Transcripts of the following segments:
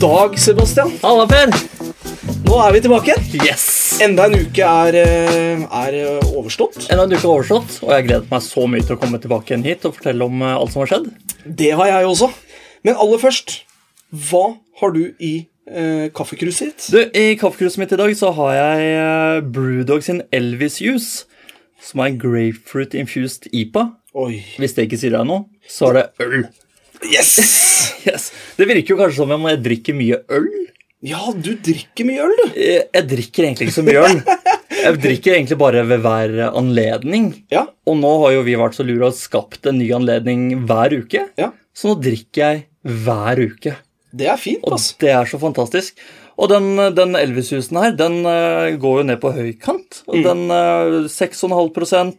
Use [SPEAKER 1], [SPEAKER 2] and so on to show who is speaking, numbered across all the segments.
[SPEAKER 1] dag, Sebastian.
[SPEAKER 2] Halla, Per!
[SPEAKER 1] Nå er vi tilbake.
[SPEAKER 2] Yes!
[SPEAKER 1] Enda en uke er, eh, er eh, overstått.
[SPEAKER 2] En av duka overstått, og jeg gledet meg så mye til å komme tilbake igjen hit og fortelle om eh, alt som har skjedd.
[SPEAKER 1] Det har jeg også. Men aller først, hva har du i eh, kaffekruset ditt?
[SPEAKER 2] Du, I kaffekruset mitt i dag så har jeg eh, Brewdog sin Elvis Juice, som er en grapefruit infused IPA.
[SPEAKER 1] Oi.
[SPEAKER 2] Hvis det ikke sier deg noe, så er det øl.
[SPEAKER 1] Yes!
[SPEAKER 2] Yes. Det virker jo kanskje som om jeg drikker mye øl.
[SPEAKER 1] Ja, du drikker mye øl, du.
[SPEAKER 2] Eh, Jeg drikker egentlig ikke så mye øl. Jeg drikker egentlig bare ved hver anledning.
[SPEAKER 1] Ja,
[SPEAKER 2] Og nå har jo vi vært så lure og skapt en ny anledning hver uke.
[SPEAKER 1] ja.
[SPEAKER 2] Så nå drikker jeg hver uke.
[SPEAKER 1] Det er fint,
[SPEAKER 2] Og
[SPEAKER 1] altså.
[SPEAKER 2] det er så fantastisk. Og den, den Elvis-husen her, den eh, går jo ned på høykant. Og Den eh, 6,5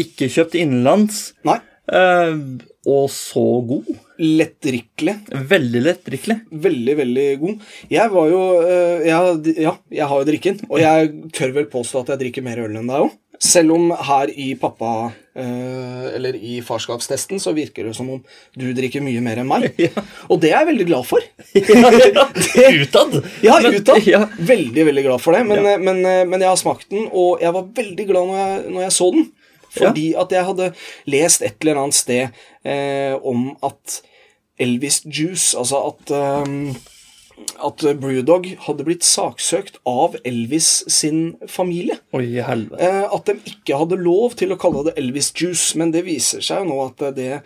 [SPEAKER 2] ikke kjøpt innenlands.
[SPEAKER 1] Nei.
[SPEAKER 2] eh, og så god.
[SPEAKER 1] Lettdrikkelig.
[SPEAKER 2] Veldig lettdrikkelig.
[SPEAKER 1] Veldig, veldig god. Jeg var jo eh, jeg, Ja, jeg har jo drikken. Og jeg tør vel påstå at jeg drikker mer øl enn deg òg. Selv om her i pappa eh, Eller i farskapstesten så virker det som om du drikker mye mer enn meg. Og det er jeg veldig glad for.
[SPEAKER 2] Utad!
[SPEAKER 1] Ja,
[SPEAKER 2] Men-
[SPEAKER 1] utad.
[SPEAKER 2] Ja.
[SPEAKER 1] Veldig, veldig glad for det. Men, men, eh, men jeg har smakt den, og jeg var veldig glad når jeg, når jeg så den. Fordi at jeg hadde lest et eller annet sted eh, om at Elvis Juice, altså at eh, at Brewdog hadde blitt saksøkt av Elvis sin familie.
[SPEAKER 2] Oi, helvete.
[SPEAKER 1] Eh, at de ikke hadde lov til å kalle det Elvis Juice, men det viser seg jo nå at det,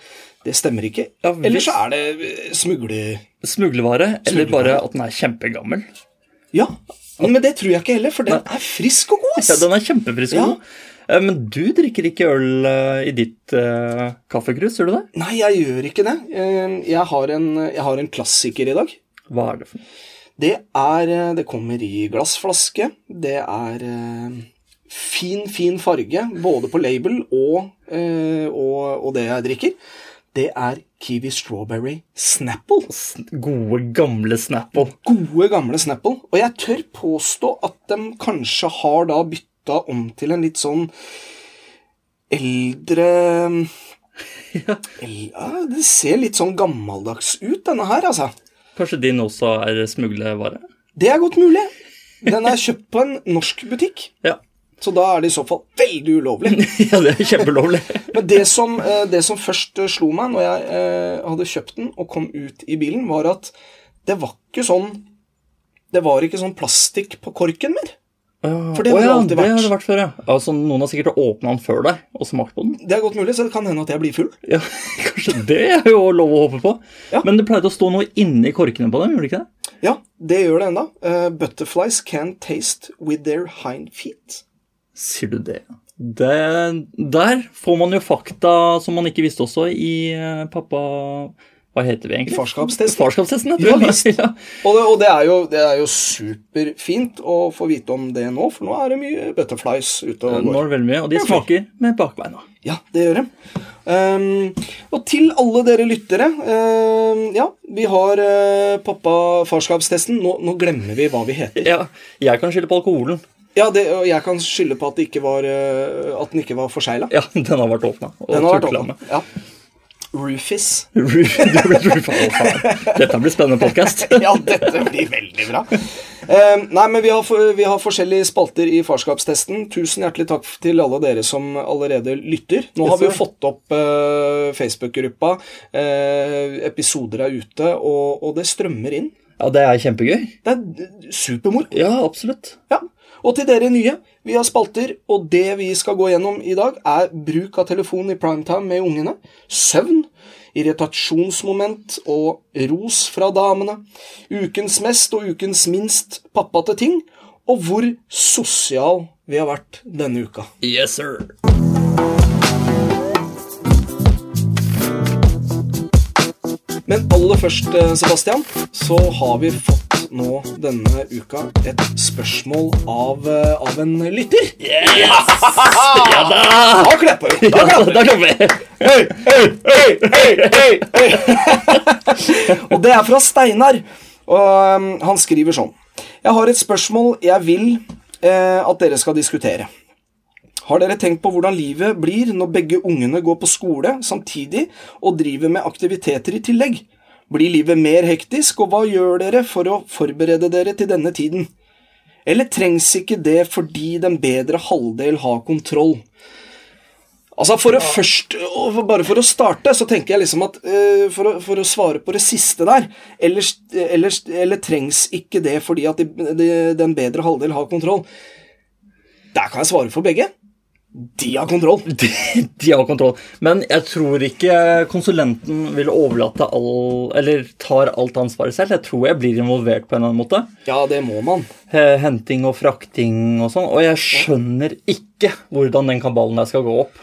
[SPEAKER 1] det stemmer ikke.
[SPEAKER 2] Ja, visst.
[SPEAKER 1] Eller så er det eh, smugler...
[SPEAKER 2] Smuglevare, eller bare at den er kjempegammel.
[SPEAKER 1] Ja, men det tror jeg ikke heller, for den er frisk og god.
[SPEAKER 2] Ja,
[SPEAKER 1] ass.
[SPEAKER 2] den er kjempefrisk.
[SPEAKER 1] Ja.
[SPEAKER 2] og god. Eh, Men du drikker ikke øl eh, i ditt uh, kaffekrus, gjør du det?
[SPEAKER 1] Nei, jeg gjør ikke det. Eh, Jeg har en, jeg har en klassiker i dag.
[SPEAKER 2] Hva er det for noe?
[SPEAKER 1] Det er eh, Det kommer i glassflaske. Det er eh, fin, fin farge, både på label og, eh, og, og det jeg drikker. Det er Kiwi Strawberry Snapple.
[SPEAKER 2] Sn- Gode, gamle Snapple.
[SPEAKER 1] Gode, gamle Snapple. Og jeg tør påstå at de kanskje har da bytta om til en litt sånn eldre um, El, ja, Det ser litt sånn gammeldags ut, denne her, altså.
[SPEAKER 2] Kanskje din også er smuglevare?
[SPEAKER 1] Det er godt mulig. Den er kjøpt på en norsk butikk,
[SPEAKER 2] Ja.
[SPEAKER 1] så da er det i så fall veldig ulovlig.
[SPEAKER 2] ja, det er kjempelovlig.
[SPEAKER 1] Men det som, eh, det som først eh, slo meg når jeg eh, hadde kjøpt den og kom ut i bilen, var at det var ikke sånn Det var ikke sånn plastikk på korken mer. For det har
[SPEAKER 2] Å
[SPEAKER 1] det
[SPEAKER 2] ja,
[SPEAKER 1] alltid vært.
[SPEAKER 2] Det har det vært før, ja. Altså, noen har sikkert åpna den før deg og smakt på den.
[SPEAKER 1] Det er godt mulig, så det kan hende at jeg blir full.
[SPEAKER 2] Ja, Kanskje det er jo lov å håpe på.
[SPEAKER 1] Ja.
[SPEAKER 2] Men det pleide å stå noe inni korkene på dem, gjorde det ikke det?
[SPEAKER 1] Ja, det gjør det enda. Eh, butterflies can taste with their hind feet.
[SPEAKER 2] Sier du det? det? Der får man jo fakta som man ikke visste også i eh, pappa... Hva heter vi egentlig?
[SPEAKER 1] Farskapstesten.
[SPEAKER 2] Farskapstesten,
[SPEAKER 1] Ja,
[SPEAKER 2] jeg
[SPEAKER 1] visst.
[SPEAKER 2] tror jeg. Ja.
[SPEAKER 1] Og det, og det, er, jo, det er jo superfint å få vite om det nå, for nå er det mye butterflies ute og
[SPEAKER 2] Nå
[SPEAKER 1] går.
[SPEAKER 2] er det veldig mye, og de
[SPEAKER 1] Ja, fint.
[SPEAKER 2] smaker med bakbeina.
[SPEAKER 1] Ja, det gjør de. Ehm, og til alle dere lyttere ehm, Ja, vi har eh, pappa-farskapstesten. Nå, nå glemmer vi hva vi heter.
[SPEAKER 2] Ja, jeg kan skylde på alkoholen.
[SPEAKER 1] Ja, det, og jeg kan skylde på at, det ikke var, eh, at den ikke var forsegla.
[SPEAKER 2] Ja, den har vært åpna.
[SPEAKER 1] Den har vært åpen. Ja. Rufis.
[SPEAKER 2] Dette blir spennende podkast.
[SPEAKER 1] Ja, dette blir veldig bra. Eh, nei, men vi har, for- vi har forskjellige spalter i farskapstesten. Tusen hjertelig takk til alle dere som allerede lytter. Nå har vi jo fått opp eh, Facebook-gruppa. eh, episoder er ute, og, og det strømmer inn.
[SPEAKER 2] Ja, det er kjempegøy.
[SPEAKER 1] Det er supermoro.
[SPEAKER 2] Ja, absolutt.
[SPEAKER 1] Ja. Og til dere nye, vi har spalter, og det vi skal gå gjennom i dag, er bruk av telefon i primetime med ungene, søvn, irritasjonsmoment og ros fra damene, ukens mest og ukens minst pappate ting, og hvor sosial vi har vært denne uka.
[SPEAKER 2] Yes, sir.
[SPEAKER 1] Men aller først, eh, Sebastian, så har vi fått nå denne uka et spørsmål av, eh, av en lytter.
[SPEAKER 2] Ja da!
[SPEAKER 1] Da klapper vi! Da
[SPEAKER 2] Ja,
[SPEAKER 1] klapper vi!
[SPEAKER 2] da kommer vi.
[SPEAKER 1] Hei, hei, hei, hei, hei, hei. Og det er fra Steinar. Og um, han skriver sånn. Jeg har et spørsmål jeg vil eh, at dere skal diskutere. Har dere tenkt på hvordan livet blir når begge ungene går på skole samtidig og driver med aktiviteter i tillegg? Blir livet mer hektisk, og hva gjør dere for å forberede dere til denne tiden? Eller trengs ikke det fordi den bedre halvdel har kontroll? Altså for å først, og for- Bare for å starte, så tenker jeg liksom at eh, for, å, for å svare på det siste der Ellers, ellers eller trengs ikke det fordi at de, de, den bedre halvdel har kontroll. Der kan jeg svare for begge. De har kontroll.
[SPEAKER 2] De, de har kontroll. Men jeg tror ikke konsulenten vil overlate all Eller tar alt ansvaret selv. Jeg tror jeg blir involvert på en eller annen måte.
[SPEAKER 1] Ja, det må man.
[SPEAKER 2] Eh, Henting og frakting og sånn. Og jeg skjønner ikke hvordan den kabalen der skal gå opp.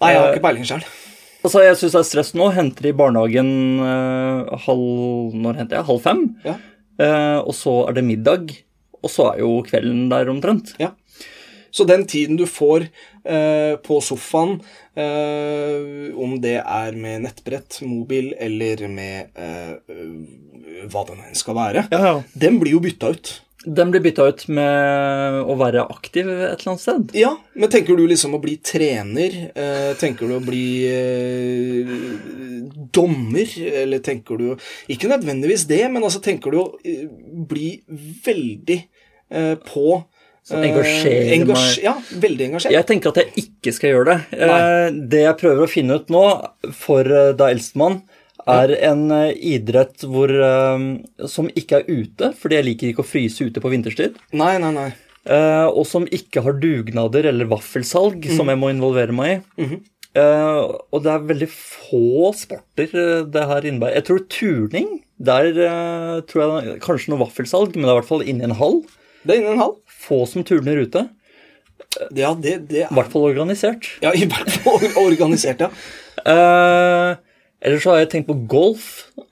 [SPEAKER 1] Nei, jeg har ikke peiling sjøl.
[SPEAKER 2] Altså, Jeg syns det er stress nå. Henter i barnehagen eh, halv Når henter jeg? Halv fem.
[SPEAKER 1] Ja.
[SPEAKER 2] Eh, og så er det middag. Og så er jo kvelden der omtrent.
[SPEAKER 1] Så den tiden du får eh, på sofaen, eh, om det er med nettbrett, mobil eller med eh, øh, hva det nå enn skal være,
[SPEAKER 2] Ja, ja.
[SPEAKER 1] den blir jo bytta ut.
[SPEAKER 2] Den blir bytta ut med å være aktiv et eller annet sted.
[SPEAKER 1] Ja, men tenker du liksom å bli trener? Eh, tenker du å bli eh, dommer? Eller tenker du Ikke nødvendigvis det, men altså tenker du å eh, bli veldig eh, på eh,
[SPEAKER 2] Så engasjere meg.
[SPEAKER 1] Ja, veldig engasjert.
[SPEAKER 2] Jeg tenker at jeg ikke skal gjøre det.
[SPEAKER 1] Nei.
[SPEAKER 2] Eh, Det jeg prøver å finne ut nå, for eh, da eldstemann, er en eh, idrett hvor, eh, som ikke er ute, fordi jeg liker ikke å fryse ute på vinterstid.
[SPEAKER 1] Nei, nei, nei.
[SPEAKER 2] eh, Og som ikke har dugnader eller vaffelsalg, som jeg må involvere meg i.
[SPEAKER 1] Mm. Mhm.
[SPEAKER 2] Eh, og det er veldig få sporter eh, det her innebærer. Jeg tror turning Der eh, tror jeg det er kanskje noe vaffelsalg, men det er i hvert fall inni en hall.
[SPEAKER 1] Det er innen en halv.
[SPEAKER 2] Få som turner ute.
[SPEAKER 1] Ja, det, det
[SPEAKER 2] I
[SPEAKER 1] er
[SPEAKER 2] hvert fall organisert.
[SPEAKER 1] ja, I hvert fall organisert, ja.
[SPEAKER 2] Eh, Ellers så har jeg tenkt på golf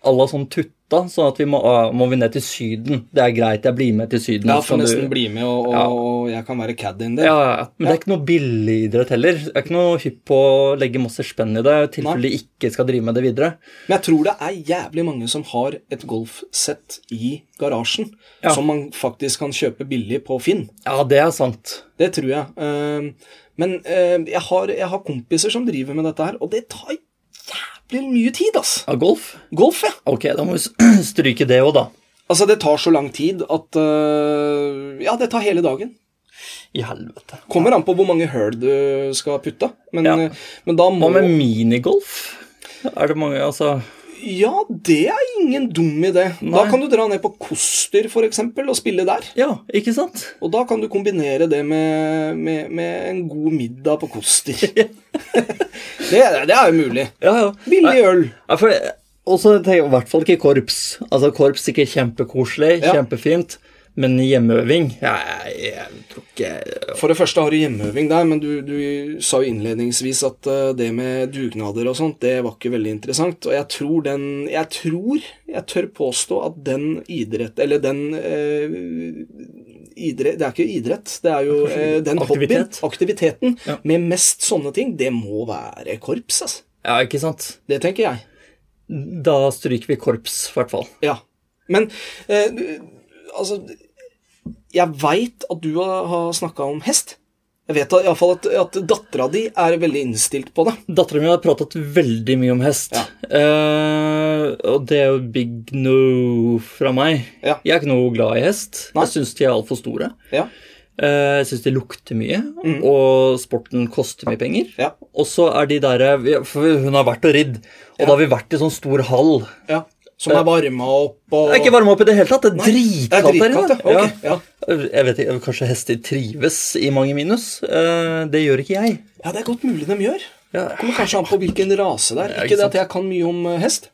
[SPEAKER 2] à la sånn tutta, sånn at vi må, ah, må vi ned til Syden. Det er greit, jeg blir med til Syden.
[SPEAKER 1] Ja,
[SPEAKER 2] så
[SPEAKER 1] får
[SPEAKER 2] kan du-
[SPEAKER 1] nesten bli med, og,
[SPEAKER 2] Ja.
[SPEAKER 1] og, og jeg kan være caddien
[SPEAKER 2] ja,
[SPEAKER 1] der.
[SPEAKER 2] ja, ja. Men det er ikke noe billigidrett heller. Jeg er ikke noe hypp på å legge masse spenn i det i tilfelle de ikke skal drive med det videre.
[SPEAKER 1] Men jeg tror det er jævlig mange som har et golfsett i garasjen,
[SPEAKER 2] Ja.
[SPEAKER 1] som man faktisk kan kjøpe billig på Finn.
[SPEAKER 2] Ja, det er sant.
[SPEAKER 1] Det tror jeg. Ehm, Men ehm, jeg har, jeg har kompiser som driver med dette her, og det tar jævlig mye tid, ass.
[SPEAKER 2] Ja, golf?
[SPEAKER 1] Golf, ja.
[SPEAKER 2] Ok, da må vi s- stryke det òg, da.
[SPEAKER 1] Altså, det tar så lang tid at eh, Ja, det tar hele dagen.
[SPEAKER 2] I helvete.
[SPEAKER 1] Kommer an på hvor mange høl du skal putte. Men,
[SPEAKER 2] Ja.
[SPEAKER 1] eh, men da må
[SPEAKER 2] Hva med minigolf? Er det mange, altså
[SPEAKER 1] Ja, det er ingen dum idé. Da
[SPEAKER 2] Nei.
[SPEAKER 1] kan du dra ned på Koster for eksempel, og spille der.
[SPEAKER 2] Ja, ikke sant?
[SPEAKER 1] Og da kan du kombinere det med, med, med en god middag på Koster. det, er- det er jo mulig.
[SPEAKER 2] Ja, ja.
[SPEAKER 1] Billig øl.
[SPEAKER 2] Ja, for Og så tenker jeg i hvert fall ikke korps. Altså Korps er ikke kjempekoselig,
[SPEAKER 1] Ja.
[SPEAKER 2] kjempefint, men hjemmeøving jeg, jeg tror ikke
[SPEAKER 1] For det første har du hjemmeøving der, men du, du sa jo innledningsvis at eh, det med dugnader og sånt, det var ikke veldig interessant. Og jeg tror den Jeg tror jeg tør påstå at den idrett Eller den eh, idrett, Det er ikke idrett, det er jo eh, den
[SPEAKER 2] Aktivitet.
[SPEAKER 1] hobbyen, aktiviteten,
[SPEAKER 2] Ja.
[SPEAKER 1] med mest sånne ting, det må være korps, altså.
[SPEAKER 2] Ja, ikke sant?
[SPEAKER 1] Det tenker jeg.
[SPEAKER 2] Da stryker vi korps, i hvert fall.
[SPEAKER 1] Ja. Men eh, altså Jeg veit at du har, har snakka om hest. Jeg vet iallfall at, at dattera di er veldig innstilt på det.
[SPEAKER 2] Dattera mi har pratet veldig mye om hest, eh, og det er jo big no fra meg.
[SPEAKER 1] Ja.
[SPEAKER 2] Jeg er ikke noe glad i hest.
[SPEAKER 1] Nei.
[SPEAKER 2] Jeg syns de er altfor store.
[SPEAKER 1] Ja.
[SPEAKER 2] Eh, Jeg syns de lukter mye, og sporten koster mye penger.
[SPEAKER 1] Mm. Ja.
[SPEAKER 2] Og så er de der eh, vi- For hun har vært og ridd, og da har vi vært i sånn stor hall.
[SPEAKER 1] ja. Som er varma opp og
[SPEAKER 2] Det er ikke varma opp i det hele tatt. Det er
[SPEAKER 1] Det er
[SPEAKER 2] dritkaldt
[SPEAKER 1] dritkaldt,
[SPEAKER 2] der inne.
[SPEAKER 1] ja. Ok, ja.
[SPEAKER 2] Jeg vet ikke, Kanskje hester trives i mange minus. Eh, Det gjør ikke jeg.
[SPEAKER 1] Ja, det er godt mulig de gjør.
[SPEAKER 2] Ja.
[SPEAKER 1] Det kommer kanskje an på hvilken rase det er.
[SPEAKER 2] Ja, ikke
[SPEAKER 1] Ikke det
[SPEAKER 2] sant.
[SPEAKER 1] at jeg kan mye om eh, hest.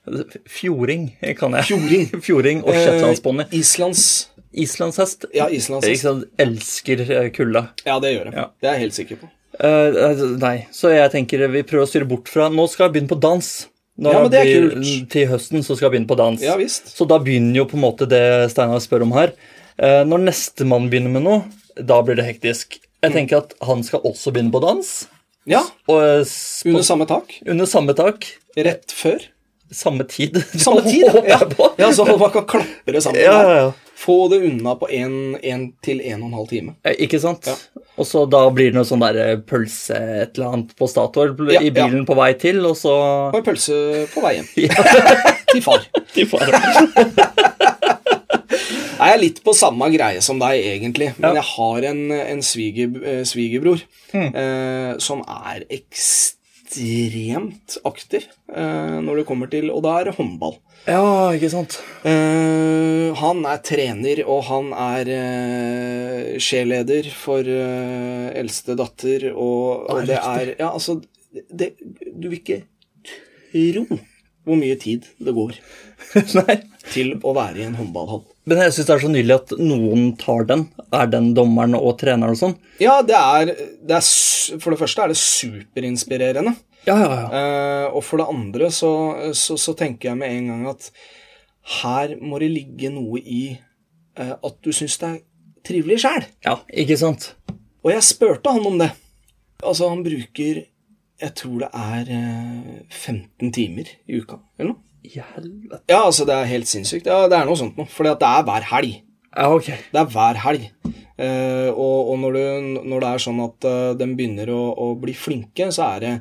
[SPEAKER 2] Fjording kan jeg.
[SPEAKER 1] Fjording.
[SPEAKER 2] Fjording og shetlandsbonny.
[SPEAKER 1] Eh, Islands
[SPEAKER 2] Islandshest.
[SPEAKER 1] Ja, islandshest.
[SPEAKER 2] Ikke sant? Elsker eh, kulda.
[SPEAKER 1] Ja, det gjør jeg.
[SPEAKER 2] Ja.
[SPEAKER 1] Det er jeg helt sikker på.
[SPEAKER 2] Eh, eh, nei, så jeg tenker eh, vi prøver å styre bort fra Nå skal jeg begynne på dans. Nå
[SPEAKER 1] Ja, men det er
[SPEAKER 2] blir-
[SPEAKER 1] kult.
[SPEAKER 2] Til høsten så skal jeg begynne på dans.
[SPEAKER 1] Ja, visst.
[SPEAKER 2] Så da begynner jo på en måte det Steinar spør om her. Eh, når nestemann begynner med noe, da blir det hektisk. Jeg
[SPEAKER 1] Mm.
[SPEAKER 2] tenker at han skal også begynne på dans.
[SPEAKER 1] Ja,
[SPEAKER 2] Og eh, sp-
[SPEAKER 1] Under samme tak.
[SPEAKER 2] under samme tak.
[SPEAKER 1] Rett før.
[SPEAKER 2] Samme tid.
[SPEAKER 1] Samme tid,
[SPEAKER 2] håper
[SPEAKER 1] ja.
[SPEAKER 2] jeg på.
[SPEAKER 1] ja så man kan klappe det sammen.
[SPEAKER 2] Ja, ja, ja.
[SPEAKER 1] Få det unna på en, en til en og en halv time.
[SPEAKER 2] Eh, Ikke sant? Og så da blir det noe sånn der eh, pølse et eller annet på Statoil
[SPEAKER 1] Ja,
[SPEAKER 2] i bilen på vei til, og så
[SPEAKER 1] Og en pølse på vei hjem.
[SPEAKER 2] Ja,
[SPEAKER 1] Til far.
[SPEAKER 2] fy faen.
[SPEAKER 1] Nei, Jeg er litt på samme greie som deg, egentlig. Men jeg har en, en sviger, eh, svigerbror eh, som er ekstremt aktiv eh, når det kommer til Og da er det håndball.
[SPEAKER 2] ja, ikke sant.
[SPEAKER 1] Eh, han er trener, og han er uh, skjeleder for eh, eldste datter, og, og det er Ja, altså det, Du vil ikke tro hvor mye tid det går
[SPEAKER 2] Nei.
[SPEAKER 1] til å være i en håndballhall.
[SPEAKER 2] Men jeg syns det er så nydelig at noen tar den. Er den dommeren og treneren og sånn?
[SPEAKER 1] Ja, det er, det er su- For det første er det superinspirerende.
[SPEAKER 2] Ja, ja, ja.
[SPEAKER 1] Eh, og for det andre så, så, så tenker jeg med en gang at her må det ligge noe i eh, at du syns det er trivelig sjæl.
[SPEAKER 2] Ja, ikke sant?
[SPEAKER 1] Og jeg spurte han om det. Altså, han bruker Jeg tror det er eh, 15 timer i uka, eller noe.
[SPEAKER 2] I helvete.
[SPEAKER 1] Ja, altså, det er helt sinnssykt. Ja, det er noe sånt noe. For det er hver helg.
[SPEAKER 2] Ja, ok.
[SPEAKER 1] Det er hver helg. Eh, og og når, du, når det er sånn at eh, de begynner å, å bli flinke, så er det,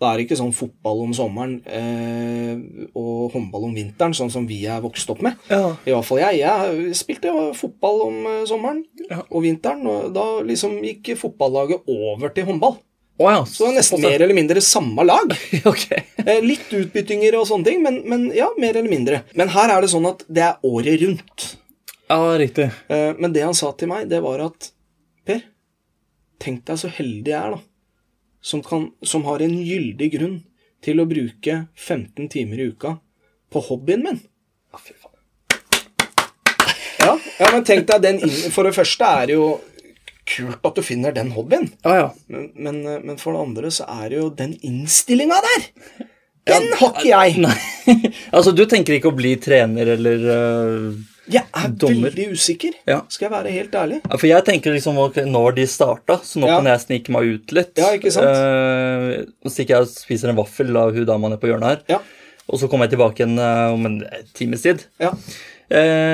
[SPEAKER 1] da er det ikke sånn fotball om sommeren eh, og håndball om vinteren, sånn som vi er vokst opp med.
[SPEAKER 2] Ja.
[SPEAKER 1] I hvert fall jeg. Jeg spilte jo fotball om eh, sommeren
[SPEAKER 2] Ja.
[SPEAKER 1] og vinteren, og da liksom gikk fotballaget over til håndball.
[SPEAKER 2] Å ja.
[SPEAKER 1] Så det var nesten mer eller mindre samme lag.
[SPEAKER 2] Ok.
[SPEAKER 1] Eh, litt utbyttinger og sånne ting, men, men ja, mer eller mindre. Men her er det sånn at det er året rundt.
[SPEAKER 2] Ja, riktig.
[SPEAKER 1] Eh, Men det han sa til meg, det var at Per, tenk deg så heldig jeg er, da. Som, kan, som har en gyldig grunn til å bruke 15 timer i uka på hobbyen min.
[SPEAKER 2] Ja, fy faen.
[SPEAKER 1] Ja, ja men tenk deg den inn- For det første er det jo kult at du finner den hobbyen.
[SPEAKER 2] Ja, ja.
[SPEAKER 1] Men, men, eh, men for det andre så er det jo den innstillinga der! Den har ikke jeg!
[SPEAKER 2] Nei. altså, du tenker ikke å bli trener eller eh,
[SPEAKER 1] Jeg er
[SPEAKER 2] Dommer.
[SPEAKER 1] veldig usikker,
[SPEAKER 2] Ja.
[SPEAKER 1] skal jeg være helt ærlig.
[SPEAKER 2] Ja, for jeg tenker liksom ok, når de starta, så nå
[SPEAKER 1] Ja.
[SPEAKER 2] kan jeg snike meg ut litt.
[SPEAKER 1] Ja, ikke sant?
[SPEAKER 2] Eh, så stikker jeg og spiser en vaffel av hun dama nede på hjørnet her.
[SPEAKER 1] Ja,
[SPEAKER 2] Og så kommer jeg tilbake igjen eh, om en times tid.
[SPEAKER 1] ja.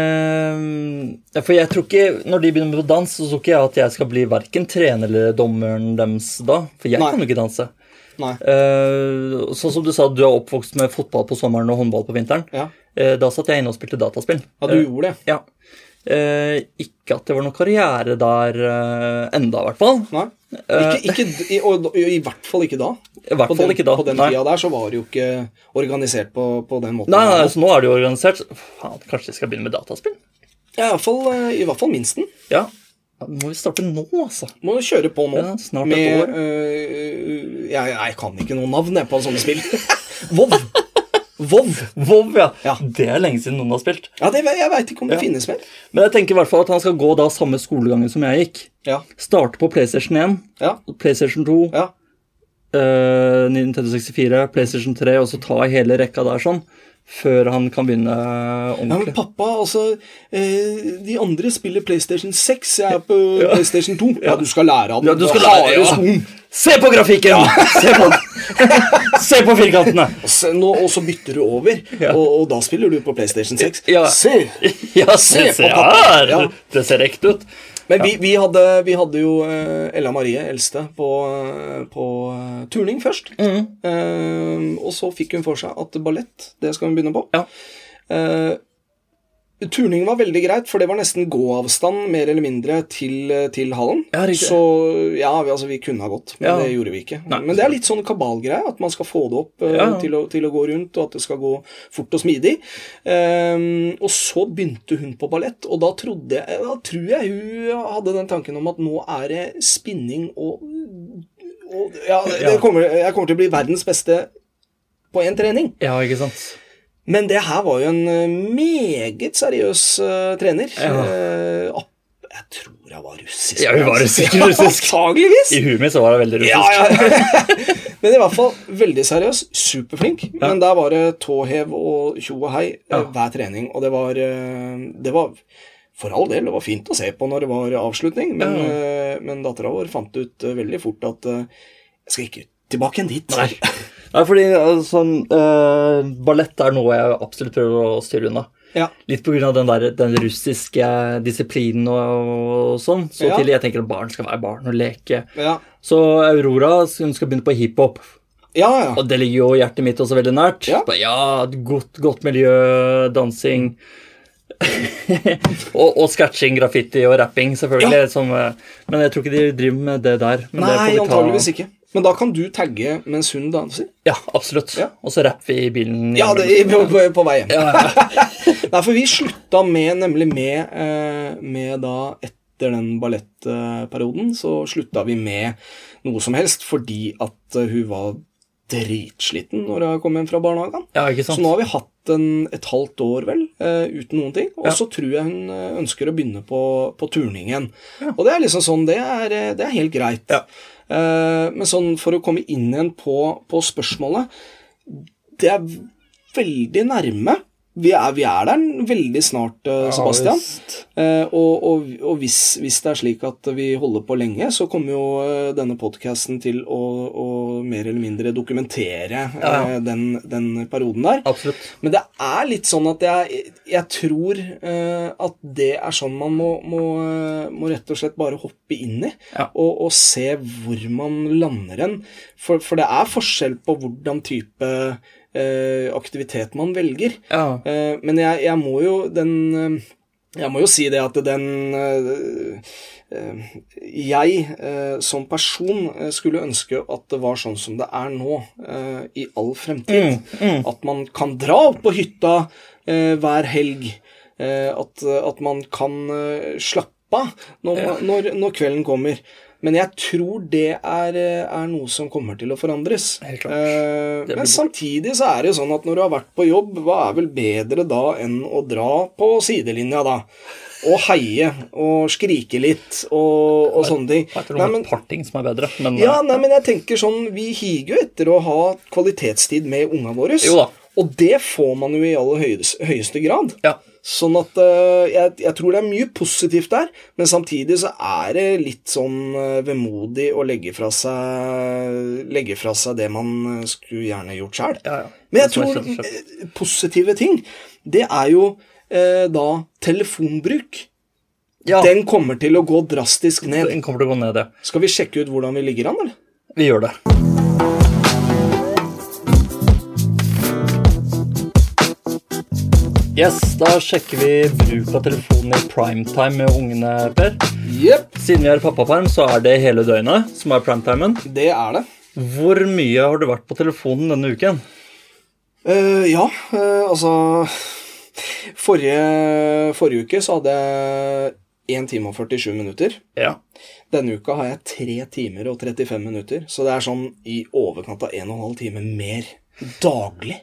[SPEAKER 2] Eh, for jeg tror ikke, når de begynner på dans, så tror ikke jeg at jeg skal bli verken trener eller dommeren deres da. For jeg
[SPEAKER 1] Nei.
[SPEAKER 2] kan jo ikke danse.
[SPEAKER 1] Nei.
[SPEAKER 2] Eh, sånn som du sa, du er oppvokst med fotball på sommeren og håndball på vinteren.
[SPEAKER 1] Ja,
[SPEAKER 2] Eh, da satt jeg inne og spilte dataspill.
[SPEAKER 1] ja du gjorde det.
[SPEAKER 2] Ja. Eh, ikke at det var noen karriere der eh, enda, i hvert fall.
[SPEAKER 1] Nei. Ikke, ikke, i, og, og I hvert fall ikke da.
[SPEAKER 2] eh, I hvert
[SPEAKER 1] På den,
[SPEAKER 2] fall ikke da.
[SPEAKER 1] på den
[SPEAKER 2] nei.
[SPEAKER 1] tida der så var det jo ikke organisert på, på den måten.
[SPEAKER 2] Nei, nei, altså, nå er det jo organisert. så- Faen, kanskje vi skal begynne med dataspill?
[SPEAKER 1] Ja, i, hvert fall, eh, I hvert fall minsten.
[SPEAKER 2] Ja. ja må vi starte nå, altså?
[SPEAKER 1] Må jo kjøre på nå.
[SPEAKER 2] Ja, snart et
[SPEAKER 1] med,
[SPEAKER 2] år.
[SPEAKER 1] eh, jeg, jeg kan ikke noe navn jeg, på sånne spill. Vov. Vov.
[SPEAKER 2] WoW, ja.
[SPEAKER 1] Ja.
[SPEAKER 2] Det er lenge siden noen har spilt.
[SPEAKER 1] Ja, det, jeg veit ikke om det finnes mer.
[SPEAKER 2] Men jeg tenker i hvert fall at han skal gå da samme skolegangen som jeg gikk.
[SPEAKER 1] Ja.
[SPEAKER 2] Starte på PlayStation 1,
[SPEAKER 1] Ja.
[SPEAKER 2] PlayStation 2,
[SPEAKER 1] ja.
[SPEAKER 2] eh, Nintendo 64, PlayStation 3, og så ta hele rekka der sånn, før han kan begynne
[SPEAKER 1] Ja, men
[SPEAKER 2] ordentlig.
[SPEAKER 1] pappa, altså eh, De andre spiller PlayStation 6, jeg er på PlayStation 2. Ja, du skal lære av den.
[SPEAKER 2] Ja, du sånn- skal
[SPEAKER 1] Den
[SPEAKER 2] lære,
[SPEAKER 1] harde
[SPEAKER 2] ja. Mm.
[SPEAKER 1] skoen.
[SPEAKER 2] Se på grafikken! Se, på, Se på firkantene!
[SPEAKER 1] Se, nå, og så bytter du over,
[SPEAKER 2] Ja.
[SPEAKER 1] og, og da spiller du på PlayStation 6.
[SPEAKER 2] Ja.
[SPEAKER 1] Se!
[SPEAKER 2] Ja, se,
[SPEAKER 1] Se
[SPEAKER 2] se
[SPEAKER 1] på pappa.
[SPEAKER 2] her!
[SPEAKER 1] Ja.
[SPEAKER 2] Det ser ekte ut.
[SPEAKER 1] Men vi, vi, hadde, vi hadde jo eh, Ella Marie, eldste, på, eh, på eh, turning først.
[SPEAKER 2] Mm.
[SPEAKER 1] Eh, og så fikk hun for seg at ballett, det skal hun begynne på.
[SPEAKER 2] Ja.
[SPEAKER 1] Eh, turning var veldig greit, for det var nesten gåavstand mer eller mindre til, eh, til hallen.
[SPEAKER 2] Ja, riktig.
[SPEAKER 1] så ja, vi, altså, vi kunne ha gått, men
[SPEAKER 2] Ja.
[SPEAKER 1] det gjorde vi ikke.
[SPEAKER 2] Nei.
[SPEAKER 1] Men det er litt sånn kabalgreie, at man skal få det opp eh,
[SPEAKER 2] Ja, ja.
[SPEAKER 1] til, å, til å gå rundt, og at det skal gå fort og smidig. Ehm, og så begynte hun på ballett, og da, trodde jeg, da tror jeg hun hadde den tanken om at nå er det spinning og, og Ja, det, det
[SPEAKER 2] Ja.
[SPEAKER 1] kommer, jeg kommer til å bli verdens beste på én trening.
[SPEAKER 2] Ja, ikke sant?
[SPEAKER 1] Men det her var jo en eh, meget seriøs eh, trener.
[SPEAKER 2] Ja.
[SPEAKER 1] Eh, app- jeg tror jeg var russisk.
[SPEAKER 2] Ja, hun var russisk,
[SPEAKER 1] Ja,
[SPEAKER 2] russisk.
[SPEAKER 1] Antageligvis.
[SPEAKER 2] I huet mitt så var det veldig
[SPEAKER 1] Ja,
[SPEAKER 2] russisk.
[SPEAKER 1] ja. Men i hvert fall veldig seriøs. Superflink. Men der var det tåhev og tjo og hei eh, hver trening. Og det var, eh, det var For all del, det var fint å se på når det var avslutning, men,
[SPEAKER 2] Ja.
[SPEAKER 1] eh, ja. men dattera vår fant ut eh, veldig fort at eh, jeg skal ikke tilbake igjen dit.
[SPEAKER 2] Nei. Nei, fordi altså, eh, ballett er noe jeg absolutt prøver å styre unna.
[SPEAKER 1] Ja.
[SPEAKER 2] Litt pga. Den, der- den russiske disiplinen og, og sånn. Så
[SPEAKER 1] Ja.
[SPEAKER 2] til jeg tenker at barn skal være barn og leke.
[SPEAKER 1] Ja,
[SPEAKER 2] Så Aurora hun skal begynne på hiphop.
[SPEAKER 1] ja. ja.
[SPEAKER 2] Og det ligger jo hjertet mitt også veldig nært.
[SPEAKER 1] Ja.
[SPEAKER 2] Bare, ja et godt, godt miljø, dansing og, og sketsjing, graffiti og rapping, selvfølgelig. Som, eh, men jeg tror ikke de driver med det der. Men det får
[SPEAKER 1] Nei,
[SPEAKER 2] vi ta-
[SPEAKER 1] antageligvis ikke. Men da kan du tagge mens hun danser.
[SPEAKER 2] Ja, absolutt.
[SPEAKER 1] Ja.
[SPEAKER 2] Og så rapp vi i bilen.
[SPEAKER 1] Ja, det, i- på, på, på vei hjem.
[SPEAKER 2] ja, ja.
[SPEAKER 1] Nei, for vi slutta med, nemlig med, eh, med da etter den ballettperioden, så slutta vi med noe som helst fordi at eh, hun var dritsliten når hun kom hjem fra barnehagen.
[SPEAKER 2] ja, ikke
[SPEAKER 1] Så
[SPEAKER 2] sant?
[SPEAKER 1] nå har vi hatt en, et halvt år, vel, eh, uten noen ting. Og
[SPEAKER 2] Ja.
[SPEAKER 1] så tror jeg hun eh, ønsker å begynne på, på turning igjen. Og det er liksom sånn, det er, eh, det er helt greit.
[SPEAKER 2] Ja.
[SPEAKER 1] Eh, men sånn for å komme inn igjen på, på spørsmålet Det er veldig nærme. Vi er, vi er der veldig snart, eh, Sebastian.
[SPEAKER 2] visst.
[SPEAKER 1] Eh, og og, og hvis, hvis det er slik at vi holder på lenge, så kommer jo eh, denne podkasten til å, å mer eller mindre dokumentere
[SPEAKER 2] Ja,
[SPEAKER 1] eh, den, den perioden der.
[SPEAKER 2] Absolutt.
[SPEAKER 1] Men det er litt sånn at jeg, jeg tror eh, at det er sånn man må, må, eh, må rett og slett bare hoppe inn i.
[SPEAKER 2] Ja.
[SPEAKER 1] Og, og se hvor man lander hen. For, for det er forskjell på hvordan type eh, aktivitet man velger.
[SPEAKER 2] Ja.
[SPEAKER 1] Eh, men jeg, jeg må jo den eh, Jeg må jo si det at den eh, eh, Jeg eh, som person eh, skulle ønske at det var sånn som det er nå, eh, i all
[SPEAKER 2] Mm,
[SPEAKER 1] fremtid. At man kan dra opp på hytta eh, hver helg. eh, at, at man kan eh, slappe av når, når, når kvelden kommer. Men jeg tror det er, eh, er noe som kommer til å forandres.
[SPEAKER 2] Helt klart.
[SPEAKER 1] Eh,
[SPEAKER 2] Det blir
[SPEAKER 1] men samtidig så er det jo sånn at når du har vært på jobb, hva er vel bedre da enn å dra på sidelinja, da? Og heie og skrike litt og, og sånne ting.
[SPEAKER 2] Jeg tror
[SPEAKER 1] Nei,
[SPEAKER 2] det
[SPEAKER 1] men,
[SPEAKER 2] er parting som er bedre, men
[SPEAKER 1] ja, nei, men jeg tenker sånn Vi higer jo etter å ha kvalitetstid med unga våre.
[SPEAKER 2] Jo da.
[SPEAKER 1] Og det får man jo i aller høyeste, høyeste grad.
[SPEAKER 2] ja.
[SPEAKER 1] Sånn at eh, jeg, jeg tror det er mye positivt der, men samtidig så er det litt sånn eh, vemodig å legge fra seg, legge fra seg det man eh, skulle gjerne gjort sjøl.
[SPEAKER 2] Ja, ja.
[SPEAKER 1] Men jeg
[SPEAKER 2] Det som er
[SPEAKER 1] tror
[SPEAKER 2] kjent,
[SPEAKER 1] eh, positive ting, det er jo eh, da telefonbruk.
[SPEAKER 2] ja. Den,
[SPEAKER 1] Den kommer til å gå drastisk ned.
[SPEAKER 2] kommer til å gå ned, ja.
[SPEAKER 1] Skal vi sjekke ut hvordan vi ligger an, eller?
[SPEAKER 2] Vi gjør det. Yes, da sjekker vi bruk av telefonen i primetime med ungene, Per.
[SPEAKER 1] Jepp.
[SPEAKER 2] Siden vi er i pappaperm, så er det hele døgnet som er primetimen.
[SPEAKER 1] Det er det.
[SPEAKER 2] Hvor mye har du vært på telefonen denne uken?
[SPEAKER 1] Eh, ja, eh, altså forrige, forrige uke så hadde jeg 1 time og 47 minutter.
[SPEAKER 2] Ja.
[SPEAKER 1] Denne uka har jeg 3 timer og 35 minutter, så det er sånn i overkant av 1 12 time mer daglig.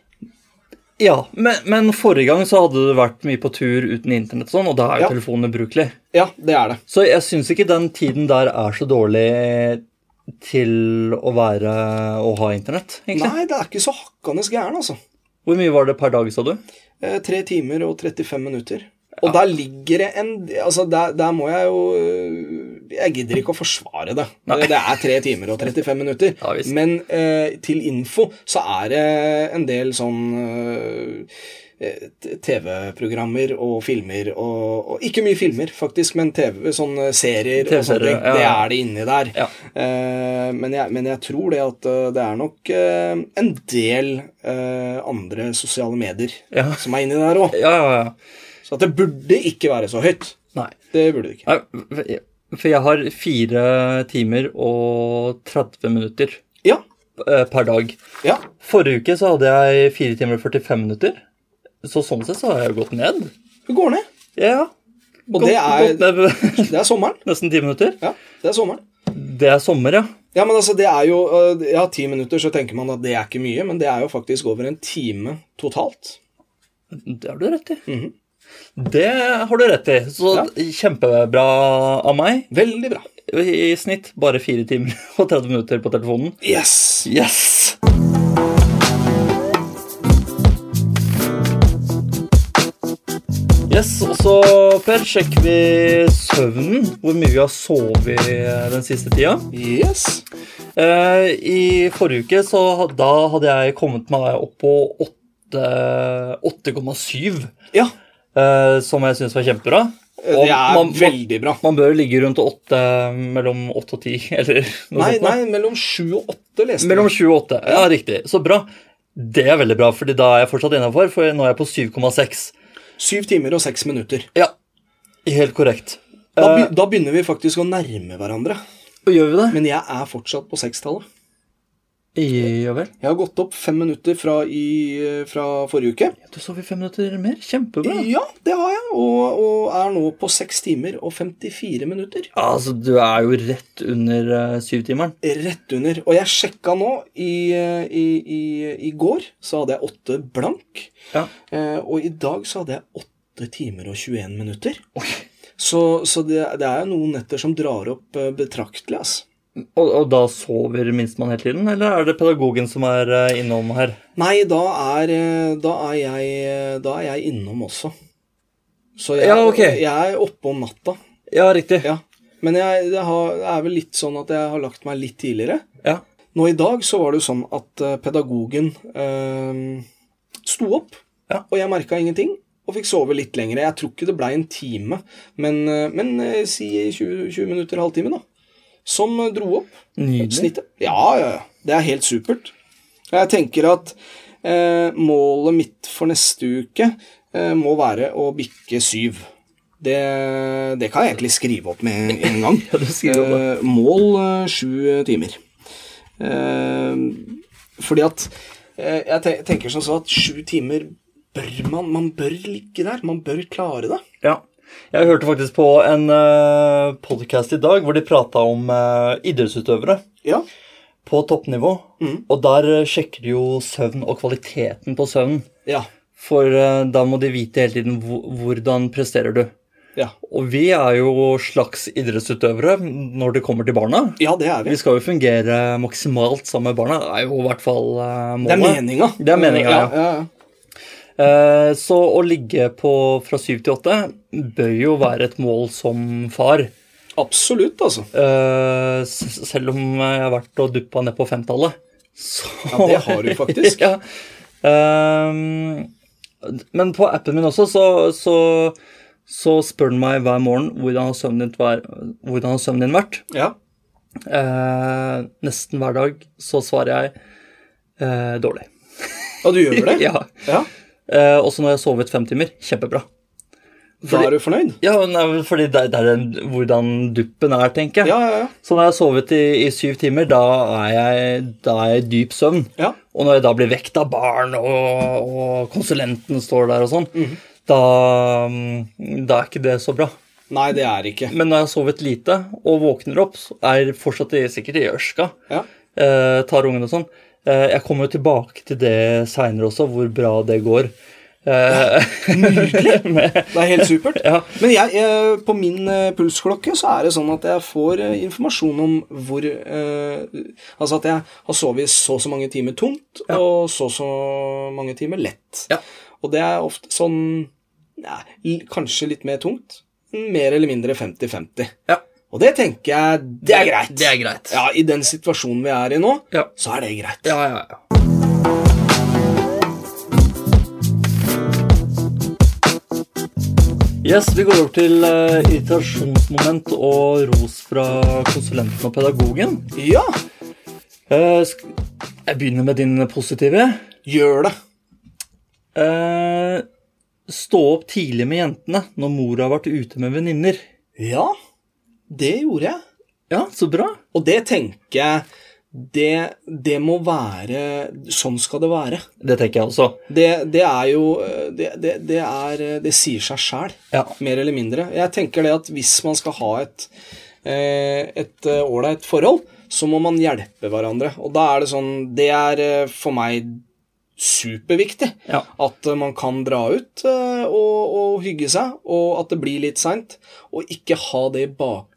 [SPEAKER 2] Ja, men, men forrige gang så hadde du vært mye på tur uten internett og sånn, og da er jo
[SPEAKER 1] Ja.
[SPEAKER 2] telefonen ubrukelig.
[SPEAKER 1] Ja, det er det.
[SPEAKER 2] Så jeg syns ikke den tiden der er så dårlig til å være å ha internett, egentlig.
[SPEAKER 1] Nei, det er ikke så hakkende gæren, altså.
[SPEAKER 2] Hvor mye var det per dag, sa du?
[SPEAKER 1] Eh, 3 timer og 35 minutter. Og der ligger det en Altså, der, der må jeg jo øh, Jeg gidder ikke å forsvare det. Det, det er 3 timer og 35 minutter.
[SPEAKER 2] Ja, visst.
[SPEAKER 1] Men eh, til info så er det en del sånn eh, eh, t- TV-programmer og filmer og, og Ikke mye filmer, faktisk, men TV, sånne eh, serier og sånne ting.
[SPEAKER 2] TV-serier, ja,
[SPEAKER 1] Det
[SPEAKER 2] ja.
[SPEAKER 1] er det inni der.
[SPEAKER 2] Ja.
[SPEAKER 1] Eh, men, jeg, men jeg tror det at eh, det er nok eh, en del eh, andre sosiale medier
[SPEAKER 2] Ja.
[SPEAKER 1] som er inni der òg.
[SPEAKER 2] Ja, ja, ja.
[SPEAKER 1] Så at det burde ikke være så høyt.
[SPEAKER 2] Nei.
[SPEAKER 1] Det burde det ikke.
[SPEAKER 2] Nei, For jeg har fire timer og 30 minutter
[SPEAKER 1] Ja.
[SPEAKER 2] eh, per dag.
[SPEAKER 1] Ja.
[SPEAKER 2] Forrige uke så hadde jeg fire timer og 45 minutter. Så sånn sett så har jeg jo gått ned.
[SPEAKER 1] Det går ned.
[SPEAKER 2] Ja.
[SPEAKER 1] Og
[SPEAKER 2] Gått-
[SPEAKER 1] det er-
[SPEAKER 2] gått ned
[SPEAKER 1] Det er sommeren.
[SPEAKER 2] nesten ti minutter.
[SPEAKER 1] Ja, det er sommeren.
[SPEAKER 2] Det er sommer, ja.
[SPEAKER 1] Ja, men altså, det er jo øh, Ja, ti minutter, så tenker man at det er ikke mye, men det er jo faktisk over en time totalt.
[SPEAKER 2] Det har du rett i. Det har du rett i. Så
[SPEAKER 1] Mhm. Ja.
[SPEAKER 2] kjempebra av meg.
[SPEAKER 1] Veldig bra.
[SPEAKER 2] I i snitt bare fire timer og 30 minutter på telefonen.
[SPEAKER 1] Yes!
[SPEAKER 2] Yes! Yes, og så, Per, sjekker vi søvnen. Hvor mye vi har sovet den siste tida.
[SPEAKER 1] Yes.
[SPEAKER 2] Eh, I forrige uke så had- da hadde jeg kommet meg opp på åtte- 8,7,
[SPEAKER 1] Ja, øh,
[SPEAKER 2] eh, som jeg syns var kjempebra. Og
[SPEAKER 1] det er
[SPEAKER 2] man- man-
[SPEAKER 1] veldig bra.
[SPEAKER 2] Man bør ligge rundt åtte, mellom åtte og ti, eller noe
[SPEAKER 1] Nei,
[SPEAKER 2] sånt.
[SPEAKER 1] nei, mellom sju og åtte leste
[SPEAKER 2] Mellom
[SPEAKER 1] jeg.
[SPEAKER 2] 7 og 8. Ja, riktig. Så bra. Det er veldig bra, fordi da er jeg fortsatt innafor, for nå er jeg på 7,6.
[SPEAKER 1] Syv timer og seks minutter.
[SPEAKER 2] Ja, helt korrekt.
[SPEAKER 1] Da,
[SPEAKER 2] Eh.
[SPEAKER 1] be- da begynner vi faktisk å nærme hverandre.
[SPEAKER 2] Gjør vi det?
[SPEAKER 1] Men jeg er fortsatt på sekstallet.
[SPEAKER 2] Ja vel.
[SPEAKER 1] Jeg har gått opp fem minutter fra, i, øh, fra forrige uke.
[SPEAKER 2] Du sov i fem minutter mer. Kjempebra.
[SPEAKER 1] Ja, det har jeg, og, og er nå på seks timer og 54 minutter.
[SPEAKER 2] Altså, du er jo rett under eh, syvtimeren.
[SPEAKER 1] Rett under. Og jeg sjekka nå, i, eh, i, i, i går så hadde jeg åtte blank.
[SPEAKER 2] Ja.
[SPEAKER 1] Eh, og i dag så hadde jeg åtte timer og 21 minutter. Så, så det, det er jo noen netter som drar opp eh, betraktelig, altså.
[SPEAKER 2] Og, og da sover minstemann hele tiden, eller er det pedagogen som er eh, innom her?
[SPEAKER 1] Nei, da er, eh, da er, jeg, eh, da er jeg innom også. Så jeg,
[SPEAKER 2] Ja, ok.
[SPEAKER 1] jeg er oppe om natta.
[SPEAKER 2] Ja, riktig.
[SPEAKER 1] Ja. Men jeg, det, har, det er vel litt sånn at jeg har lagt meg litt tidligere.
[SPEAKER 2] Ja.
[SPEAKER 1] Nå i dag så var det jo sånn at eh, pedagogen eh, sto opp,
[SPEAKER 2] Ja.
[SPEAKER 1] og jeg merka ingenting. Og fikk sove litt lenger. Jeg tror ikke det blei en time, men, eh, men eh, si 20, 20 minutter, halvtime, da. Som eh, dro opp
[SPEAKER 2] Nydelig.
[SPEAKER 1] snittet. Ja, ja, ja. Det er helt supert. Jeg tenker at eh, målet mitt for neste uke eh, må være å bikke syv. Det, det kan jeg egentlig skrive opp med en gang.
[SPEAKER 2] Ja, du skriver opp
[SPEAKER 1] Eh, mål eh, sju timer. Eh, fordi at eh, Jeg te tenker som så at sju timer bør man Man bør ligge der. Man bør klare det.
[SPEAKER 2] Ja. Jeg hørte faktisk på en uh, podkast i dag hvor de prata om eh, idrettsutøvere.
[SPEAKER 1] Ja.
[SPEAKER 2] på toppnivå.
[SPEAKER 1] Mm.
[SPEAKER 2] Og der eh, sjekker de jo søvn og kvaliteten på søvnen.
[SPEAKER 1] Ja.
[SPEAKER 2] For eh, da må de vite hele tiden hvor- hvordan presterer du.
[SPEAKER 1] Ja,
[SPEAKER 2] Og vi er jo slags idrettsutøvere når det kommer til barna.
[SPEAKER 1] ja det er vi.
[SPEAKER 2] Vi skal jo fungere maksimalt sammen med barna, er jo i hvert fall eh,
[SPEAKER 1] Det er
[SPEAKER 2] målet.
[SPEAKER 1] meninga.
[SPEAKER 2] Det er meninga, ja.
[SPEAKER 1] ja, ja.
[SPEAKER 2] Eh, Så å ligge på fra syv til åtte bør jo være et mål som far.
[SPEAKER 1] Absolutt, altså.
[SPEAKER 2] Eh, s- selv om jeg har vært og duppa ned på femtallet. Så...
[SPEAKER 1] Ja, det har du faktisk.
[SPEAKER 2] ja. Ehm, men på appen min også, så, så, så spør den meg hver morgen hvordan har søvnen din, vær, hvordan har søvnen din vært.
[SPEAKER 1] Ja.
[SPEAKER 2] Eh, nesten hver dag så svarer jeg eh, dårlig.
[SPEAKER 1] Ja, du gjør det?
[SPEAKER 2] Ja.
[SPEAKER 1] Ja,
[SPEAKER 2] Eh, også når jeg har sovet fem timer. Kjempebra.
[SPEAKER 1] Da er du fornøyd?
[SPEAKER 2] Ja, nei, fordi det, det er den- hvordan duppen er, tenker jeg.
[SPEAKER 1] Ja, ja, ja.
[SPEAKER 2] Så når jeg har sovet i, i syv timer, da er jeg, da er jeg i dyp søvn.
[SPEAKER 1] Ja.
[SPEAKER 2] Og når jeg da blir vekt av barn, og, og konsulenten står der og sånn, da, mm, da er ikke det så bra.
[SPEAKER 1] Nei, det er ikke.
[SPEAKER 2] Men når jeg har sovet lite og våkner opp, så er jeg fortsatt i, sikkert i ørska,
[SPEAKER 1] Ja.
[SPEAKER 2] eh, tar ungene og sånn. Eh, jeg kommer jo tilbake til det seinere også, hvor bra det går. Eh, Nydelig!
[SPEAKER 1] Det er helt supert.
[SPEAKER 2] Ja.
[SPEAKER 1] Men jeg, eh, på min eh, pulsklokke så er det sånn at jeg får eh, informasjon om hvor eh, Altså at jeg har sovet så og så mange timer tungt, og så og så mange timer lett.
[SPEAKER 2] Ja.
[SPEAKER 1] Og det er ofte sånn ja, l- Kanskje litt mer tungt. Mer eller mindre 50-50.
[SPEAKER 2] Ja.
[SPEAKER 1] Og det tenker jeg Det er greit.
[SPEAKER 2] Det er greit.
[SPEAKER 1] Ja, I den situasjonen vi er i nå,
[SPEAKER 2] Ja.
[SPEAKER 1] så er det greit.
[SPEAKER 2] Ja, ja, ja. Yes, Vi går over til eh, irritasjonsmoment og ros fra konsulenten og pedagogen.
[SPEAKER 1] Ja,
[SPEAKER 2] Eh, sk jeg begynner med din positive.
[SPEAKER 1] gjør det.
[SPEAKER 2] Eh, stå opp tidlig med jentene når mor har vært ute med venninner.
[SPEAKER 1] Ja, det gjorde jeg.
[SPEAKER 2] Ja, så bra.
[SPEAKER 1] Og det tenker jeg det, det må være Sånn skal det være.
[SPEAKER 2] Det tenker jeg også.
[SPEAKER 1] Det, det er jo eh, det, det, det, er, eh, det sier seg sjæl,
[SPEAKER 2] Ja.
[SPEAKER 1] mer eller mindre. Jeg tenker det at hvis man skal ha et eh, et eh, ålreit forhold, så må man hjelpe hverandre. Og da er det sånn Det er eh, for meg superviktig.
[SPEAKER 2] Ja.
[SPEAKER 1] At eh, man kan dra ut eh, og, og hygge seg, og at det blir litt seint. Og ikke ha det i bakhuet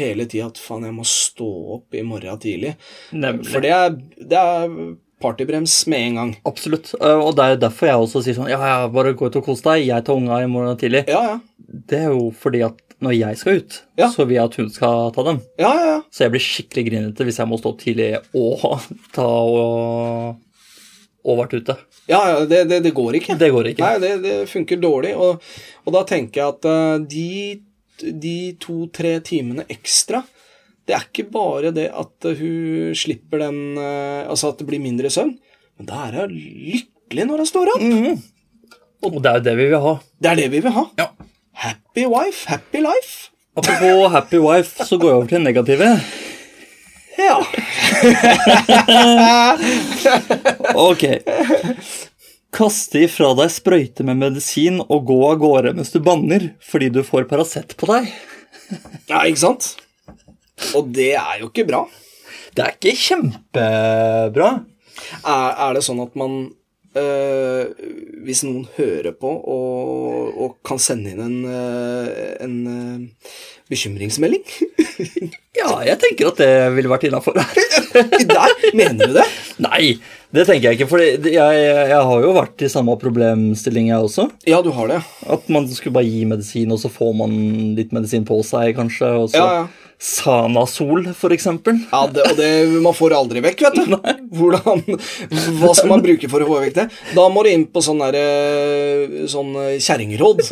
[SPEAKER 1] hele tida at faen, jeg må stå opp i morgen tidlig.
[SPEAKER 2] Nemlig.
[SPEAKER 1] For det er, det er partybrems med en gang.
[SPEAKER 2] Absolutt. Eh, og det er jo derfor jeg også sier sånn Ja, ja, bare gå ut og kos deg. Jeg tar unga i morgen tidlig.
[SPEAKER 1] Ja, ja.
[SPEAKER 2] Det er jo fordi at når jeg skal ut,
[SPEAKER 1] Ja.
[SPEAKER 2] så vil jeg at hun skal ta dem.
[SPEAKER 1] Ja, ja, ja.
[SPEAKER 2] Så jeg blir skikkelig grinete hvis jeg må stå tidlig og ta og, og vært ute.
[SPEAKER 1] ja, ja det, det, det går ikke.
[SPEAKER 2] Det går ikke.
[SPEAKER 1] Nei, det, det funker dårlig. Og, og da tenker jeg at eh, de, de to-tre timene ekstra Det er ikke bare det at eh, hun slipper den eh, Altså at det blir mindre søvn, men da er hun lykkelig når hun står opp.
[SPEAKER 2] Mhm. Og det er jo det vi vil ha.
[SPEAKER 1] Det er det vi vil ha.
[SPEAKER 3] Ja.
[SPEAKER 1] Happy wife, happy life.
[SPEAKER 2] Apropos happy wife, så går jeg over til det negative.
[SPEAKER 1] Ja.
[SPEAKER 2] Ok. Kaste ifra deg sprøyte med medisin og gå av gårde mens du banner fordi du får Paracet på deg.
[SPEAKER 1] ja, ikke sant? Og det er jo ikke bra.
[SPEAKER 2] Det er ikke kjempebra.
[SPEAKER 1] Er, er det sånn at man eh, Hvis noen hører på og, og kan sende inn en, eh, en eh, bekymringsmelding
[SPEAKER 2] Ja, jeg tenker at det ville vært innafor.
[SPEAKER 1] Der, mener du det?
[SPEAKER 2] Nei, det tenker jeg ikke, for jeg, jeg har jo vært i samme problemstilling, jeg også.
[SPEAKER 1] Ja, du har det.
[SPEAKER 2] At man skulle bare gi medisin, og så får man litt medisin på seg, kanskje. Og så
[SPEAKER 1] Ja, ja.
[SPEAKER 2] Sanasol, for eksempel.
[SPEAKER 1] ja det, og det man får aldri vekk, vet du. Hvordan, hva skal man bruke for å få vekk det? Da må du inn på sånn der, eh, sånn eh, kjerringråd.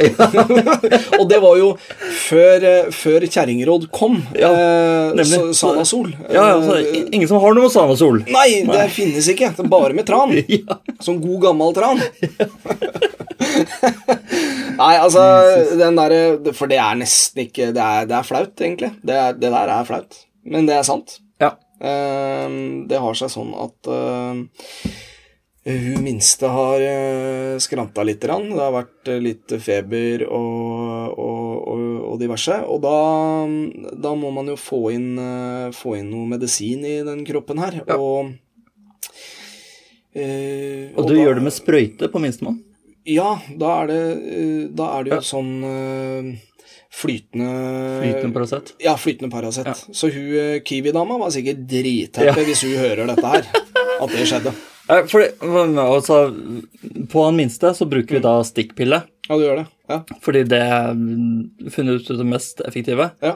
[SPEAKER 1] og det var jo før, eh, før kjerringråd kom.
[SPEAKER 2] Ja,
[SPEAKER 1] eh,
[SPEAKER 2] nemlig.
[SPEAKER 1] så- Sana Sol.
[SPEAKER 2] Ja, altså, ja, så det
[SPEAKER 1] Eh,
[SPEAKER 2] er ingen som har noe med Sanasol.
[SPEAKER 1] Nei, det finnes ikke. Det er bare med tran.
[SPEAKER 2] Ja.
[SPEAKER 1] Som god, gammel tran. Nei, altså den derre For det er nesten ikke Det er, det er flaut, egentlig. Det, er, det der er flaut. Men det er sant.
[SPEAKER 2] Ja.
[SPEAKER 1] Ehm, det har seg sånn at ehm, hun minste har eh, skranta litt. Rann. Det har vært eh, litt feber og, og, og, og diverse. Og da, da må man jo få inn, eh, få inn noe medisin i den kroppen her. Og, eh,
[SPEAKER 2] Og du
[SPEAKER 1] da-
[SPEAKER 2] gjør det med sprøyte på minstemann?
[SPEAKER 1] Ja, da er det, eh, da er det jo sånn eh, flytende
[SPEAKER 2] Flytende Paracet?
[SPEAKER 1] Ja, flytende Paracet. Så hun eh, Kiwi-dama var sikkert drithappy hvis hun hører dette her. At det skjedde.
[SPEAKER 2] Eh, For det, altså, på han minste så bruker vi da stikkpille,
[SPEAKER 1] Ja, du gjør det. Ja.
[SPEAKER 2] fordi det er mm, funnet ut det mest effektive.
[SPEAKER 1] ja.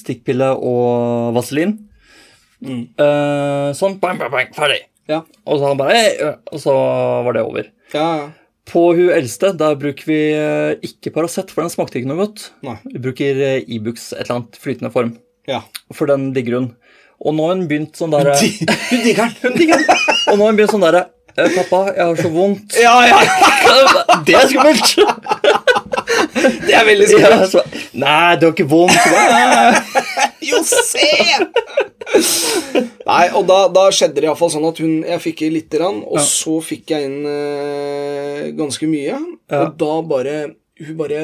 [SPEAKER 2] Stikkpille og vaselin. Eh, sånn, bang, bang, bang, ferdig.
[SPEAKER 1] Ja,
[SPEAKER 2] Og så han bare, «Hei», og så var det over.
[SPEAKER 1] ja, ja.
[SPEAKER 2] På hun eldste, der bruker vi eh, ikke Paracet, for den smakte ikke noe godt.
[SPEAKER 1] Nei.
[SPEAKER 2] Vi bruker eh, Ibux, et eller annet flytende form,
[SPEAKER 1] Ja.
[SPEAKER 2] for den digger hun. Og nå har hun begynt sånn der...
[SPEAKER 1] Hun digger den.
[SPEAKER 2] Hun digger den. Og nå har hun begynt sånn der, «Eh, pappa, jeg har så vondt.
[SPEAKER 1] Ja, ja.
[SPEAKER 2] Det er skummelt!
[SPEAKER 1] Det er veldig
[SPEAKER 2] Ja,
[SPEAKER 1] skummelt.
[SPEAKER 2] så, Nei, du har ikke vondt. Så bare,
[SPEAKER 1] Jo, se! Nei, og da, da skjedde det iallfall sånn at hun Jeg fikk i lite grann, og så fikk jeg inn eh, ganske mye.
[SPEAKER 2] Ja.
[SPEAKER 1] Og da bare Hun bare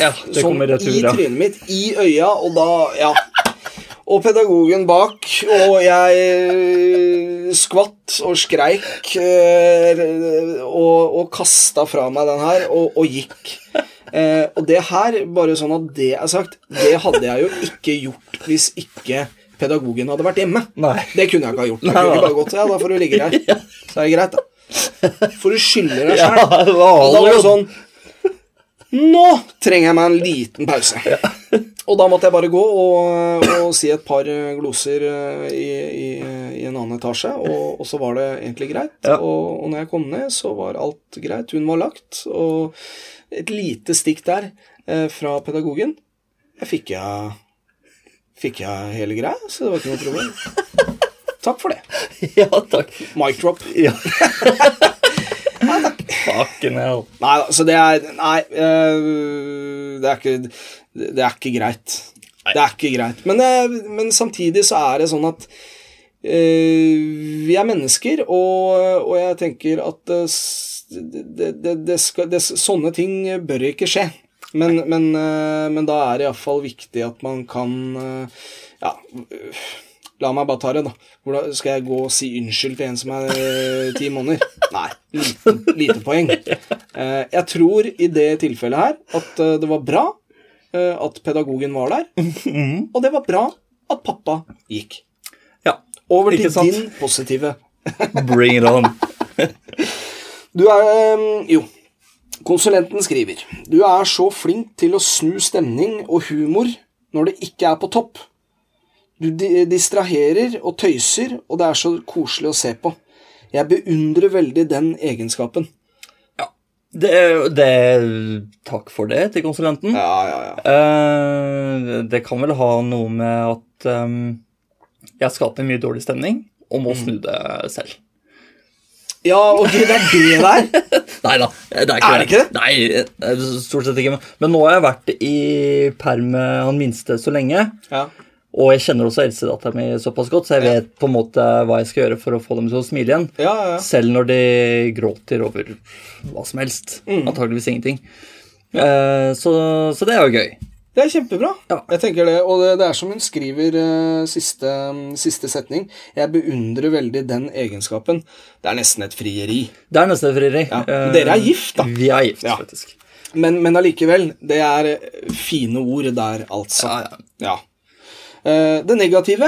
[SPEAKER 2] Ja, det
[SPEAKER 1] sånn
[SPEAKER 2] kommer retur,
[SPEAKER 1] i
[SPEAKER 2] ja.
[SPEAKER 1] trynet mitt, i øya, og da Ja. Og pedagogen bak, og jeg eh, skvatt og skreik eh, og, og kasta fra meg den her, og, og gikk. Eh, og det her, bare sånn at det er sagt, det hadde jeg jo ikke gjort hvis ikke pedagogen hadde vært hjemme.
[SPEAKER 2] Nei.
[SPEAKER 1] Det kunne jeg ikke ha gjort. Jeg kunne ikke bare gått, ja, da får du ligge der. Så er det greit, da. Får du skylde deg sjæl.
[SPEAKER 2] Ja,
[SPEAKER 1] Og da
[SPEAKER 2] det
[SPEAKER 1] var
[SPEAKER 2] var
[SPEAKER 1] det sånn Nå trenger jeg meg en liten pause. Og da måtte jeg bare gå og, og si et par eh, gloser eh, i, i, i en annen etasje, og, og så var det egentlig greit.
[SPEAKER 2] Ja.
[SPEAKER 1] Og, og når jeg kom ned, så var alt greit. Hun var lagt, og et lite stikk der eh, fra pedagogen jeg fikk jeg, fikk jeg hele greia, så det var ikke noe problem. Takk for det.
[SPEAKER 2] Ja, takk.
[SPEAKER 1] Mic drop.
[SPEAKER 2] Ja. Fucking hell.
[SPEAKER 1] Nei, altså det er Nei, øh, det er ikke Det er ikke greit. Det er ikke greit. Men, det, men samtidig så er det sånn at øh, vi er mennesker, og, og jeg tenker at øh, s- det, det, det skal, det, sånne ting bør ikke skje. Men, men, øh, men da er det iallfall viktig at man kan øh, Ja, øh, la meg bare ta det, da. Hvordan, skal jeg gå og si unnskyld til en som er øh, ti måneder? Nei. Lite, lite poeng. Eh, jeg tror i det tilfellet her at eh, det var bra eh, at pedagogen var der,
[SPEAKER 2] Mm.
[SPEAKER 1] og det var bra at pappa gikk.
[SPEAKER 2] Ja.
[SPEAKER 1] Over
[SPEAKER 2] Ikke
[SPEAKER 1] til
[SPEAKER 2] sant?
[SPEAKER 1] din positive.
[SPEAKER 2] Bring it on.
[SPEAKER 1] Du er eh, Jo. Konsulenten skriver Du er så flink til å snu stemning og humor når det ikke er på topp. Du di- distraherer og tøyser, og det er så koselig å se på. Jeg beundrer veldig den egenskapen.
[SPEAKER 2] Det, er- det, er- takk for det til konsulenten.
[SPEAKER 1] Ja, ja, ja.
[SPEAKER 2] Eh, det kan vel ha noe med at eh, jeg skaper mye dårlig stemning og
[SPEAKER 1] Mm.
[SPEAKER 2] må snu det selv.
[SPEAKER 1] Ja, og du, det er det der.
[SPEAKER 2] Nei da, det er ikke
[SPEAKER 1] Er det ikke det?
[SPEAKER 2] Nei, eh, stort sett ikke. men- Men nå har jeg vært i perm med han minste så lenge.
[SPEAKER 1] Ja.
[SPEAKER 2] Og jeg kjenner også eldstedattera mi såpass godt, så jeg vet på en måte hva jeg skal gjøre for å få dem til å smile igjen.
[SPEAKER 1] Ja, ja, ja.
[SPEAKER 2] Selv når de gråter over hva som helst.
[SPEAKER 1] Mm.
[SPEAKER 2] Antageligvis ingenting. Eh, så, så det er jo gøy.
[SPEAKER 1] Det er kjempebra.
[SPEAKER 2] Ja.
[SPEAKER 1] Jeg tenker det, Og det, det er som hun skriver eh, siste, siste setning. Jeg beundrer veldig den egenskapen. Det er nesten et frieri.
[SPEAKER 2] Det er nesten et frieri.
[SPEAKER 1] Ja,
[SPEAKER 2] Eh,
[SPEAKER 1] dere er gift, da.
[SPEAKER 2] Vi er gift,
[SPEAKER 1] Ja.
[SPEAKER 2] faktisk.
[SPEAKER 1] Men, men allikevel, det er eh, fine ord der, altså.
[SPEAKER 2] Ja, ja.
[SPEAKER 1] Ja. Eh, det negative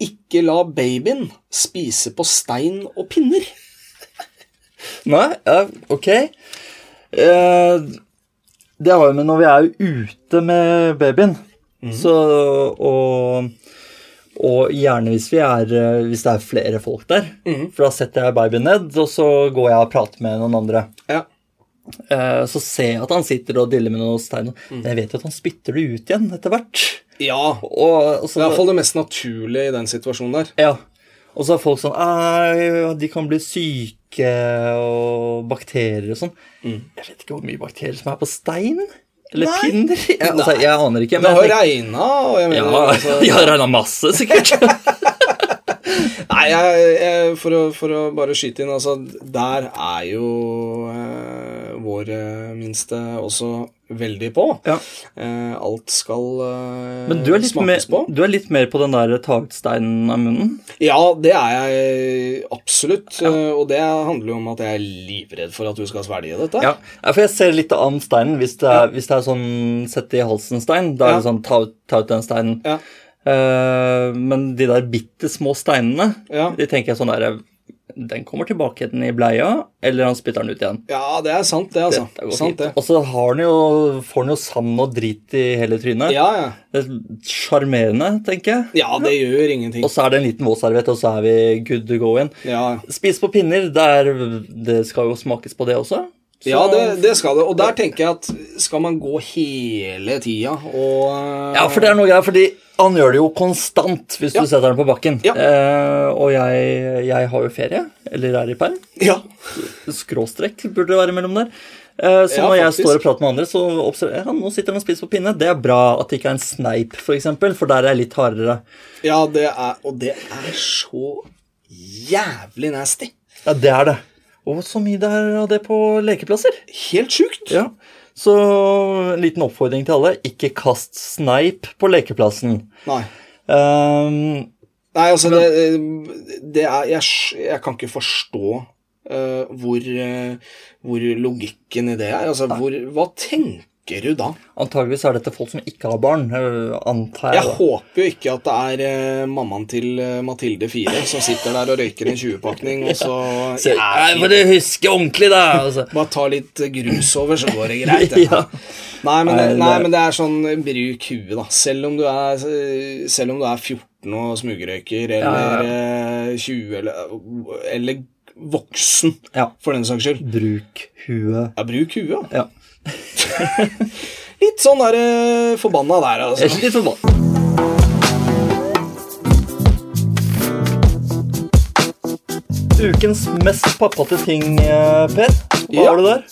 [SPEAKER 1] ikke la babyen spise på stein og pinner.
[SPEAKER 2] Nei, ja, ok. Eh, det har jo med når vi er ute med babyen.
[SPEAKER 1] Mhm.
[SPEAKER 2] Så, og, og gjerne hvis, vi er, eh, hvis det er flere folk der.
[SPEAKER 1] Mhm.
[SPEAKER 2] For da setter jeg babyen ned, og så går jeg og prater med noen andre.
[SPEAKER 1] Ja.
[SPEAKER 2] Eh, så ser jeg at han sitter og diller med noen stein.
[SPEAKER 1] Mm.
[SPEAKER 2] Men jeg vet jo at han spytter det ut igjen etter hvert.
[SPEAKER 1] ja. Det
[SPEAKER 2] Og, og så,
[SPEAKER 1] er iallfall det mest naturlige i den situasjonen der.
[SPEAKER 2] ja. Og så er folk sånn «Ei, De kan bli syke og bakterier og sånn. Jeg vet ikke hvor mye bakterier som er på stein. Eller
[SPEAKER 1] Mm. Nei.
[SPEAKER 2] pinner. Jeg, altså, jeg aner ikke.
[SPEAKER 1] Det
[SPEAKER 2] Men
[SPEAKER 1] har
[SPEAKER 2] jeg,
[SPEAKER 1] regna, og jeg mener
[SPEAKER 2] ja,
[SPEAKER 1] altså,
[SPEAKER 2] de har regna masse, sikkert.
[SPEAKER 1] Nei, jeg, jeg, for, å, for å bare skyte inn, altså Der er jo eh, vår eh, minste også veldig på.
[SPEAKER 2] Ja.
[SPEAKER 1] Eh, alt skal eh,
[SPEAKER 2] Men du er, litt mer,
[SPEAKER 1] smakes på.
[SPEAKER 2] du er litt mer på den der ta ut steinen av munnen.
[SPEAKER 1] Ja, det er jeg absolutt. eh, Og det handler jo om at jeg er livredd for at du skal svelge dette.
[SPEAKER 2] Ja, ja, for jeg ser litt an steinen. Hvis det er, hvis det er sånn sett i halsen-stein, da er
[SPEAKER 1] Ja.
[SPEAKER 2] det sånn ta ut, ta ut den steinen.
[SPEAKER 1] Ja.
[SPEAKER 2] Eh, men de der bitte små steinene,
[SPEAKER 1] Ja.
[SPEAKER 2] de tenker jeg sånn der Den kommer tilbake igjen i bleia, eller han spytter den ut igjen.
[SPEAKER 1] Ja, det er sant, det, altså.
[SPEAKER 2] Dette går
[SPEAKER 1] sant,
[SPEAKER 2] fint.
[SPEAKER 1] det.
[SPEAKER 2] Og så har den jo, får den jo sand og drit i hele trynet.
[SPEAKER 1] Ja, ja.
[SPEAKER 2] Det er Sjarmerende, tenker jeg.
[SPEAKER 1] ja, det gjør ingenting.
[SPEAKER 2] Og så er det en liten våtserviett, og så er vi good to go in.
[SPEAKER 1] Ja, ja.
[SPEAKER 2] Spis på pinner, det, er, det skal jo smakes på det også. Så-
[SPEAKER 1] ja det, det skal det. Og der tenker jeg at skal man gå hele tida og eh,
[SPEAKER 2] Ja, for det er noe greier, fordi han gjør det jo konstant hvis
[SPEAKER 1] Ja.
[SPEAKER 2] du setter den på bakken.
[SPEAKER 1] Ja.
[SPEAKER 2] Eh, og jeg, jeg har jo ferie, eller er i perm.
[SPEAKER 1] ja.
[SPEAKER 2] Skråstrekk burde det være mellom der. Eh, så
[SPEAKER 1] Ja,
[SPEAKER 2] når jeg
[SPEAKER 1] faktisk.
[SPEAKER 2] står og prater med andre, så observerer jeg ja, nå sitter han og spiser på pinne. Det er bra at det ikke er en sneip, for eksempel, for der er jeg litt hardere.
[SPEAKER 1] Ja, det er, og det er så jævlig nasty.
[SPEAKER 2] Ja, det er det. Og så mye det er av det på lekeplasser.
[SPEAKER 1] Helt sjukt.
[SPEAKER 2] Ja. Så en liten oppfordring til alle. Ikke kast sneip på lekeplassen.
[SPEAKER 1] Nei.
[SPEAKER 2] Eh,
[SPEAKER 1] Nei, altså, det, det er jeg, skj- jeg kan ikke forstå eh, hvor, eh, hvor logikken i det er. Altså, hvor, hva tenker du da?
[SPEAKER 2] Antageligvis er dette folk som ikke har barn, øh, antar jeg.
[SPEAKER 1] Jeg
[SPEAKER 2] da.
[SPEAKER 1] håper jo ikke at det er eh, mammaen til eh, Mathilde 4 som sitter der og røyker en 20-pakning, og så
[SPEAKER 2] Så, nei, må du huske ordentlig, da! Altså.
[SPEAKER 1] Bare ta litt grus over, så går det greit.
[SPEAKER 2] Ja.
[SPEAKER 1] Nei, men,
[SPEAKER 2] Nei,
[SPEAKER 1] nei,
[SPEAKER 2] det-
[SPEAKER 1] men det er sånn Bruk huet, da. Selv om du er, selv om du er 14 og smugrøyker, eller eh, 20, eller, eller voksen,
[SPEAKER 2] Ja.
[SPEAKER 1] for den saks skyld.
[SPEAKER 2] Bruk huet.
[SPEAKER 1] Ja, bruk huet. da.
[SPEAKER 2] Ja.
[SPEAKER 1] Litt sånn der, eh, forbanna der,
[SPEAKER 2] Jeg
[SPEAKER 1] altså.
[SPEAKER 2] er litt forbanna. Ukens mest pappate ting, eh, Per. Hva
[SPEAKER 1] Ja.
[SPEAKER 2] har du der?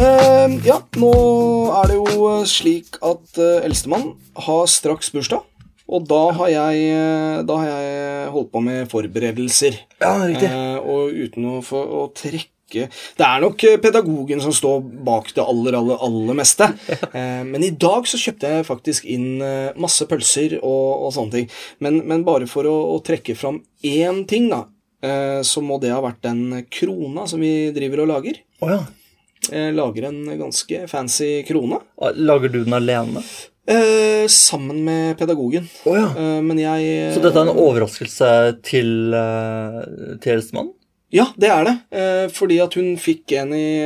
[SPEAKER 1] Eh, ja, nå er det jo eh, slik at eh, eldstemann har straks bursdag. Og da har, jeg, eh, da har jeg holdt på med forberedelser.
[SPEAKER 2] Ja, riktig.
[SPEAKER 1] Eh, og uten å, få, å trekke Det er nok eh, pedagogen som står bak det aller, aller, aller meste. Eh, men i dag så kjøpte jeg faktisk inn eh, masse pølser og, og sånne ting. Men, men bare for å, å trekke fram én ting, da, eh, så må det ha vært den krona som vi driver og lager.
[SPEAKER 2] Å ja.
[SPEAKER 1] Eh, lager en ganske fancy krone.
[SPEAKER 2] Ah, Lager du den alene?
[SPEAKER 1] Eh, sammen med pedagogen.
[SPEAKER 2] Å ja.
[SPEAKER 1] Eh, men jeg
[SPEAKER 2] Så dette er en overraskelse til, eh, til eldstemann?
[SPEAKER 1] Ja, det er det. Eh, fordi at hun fikk en i,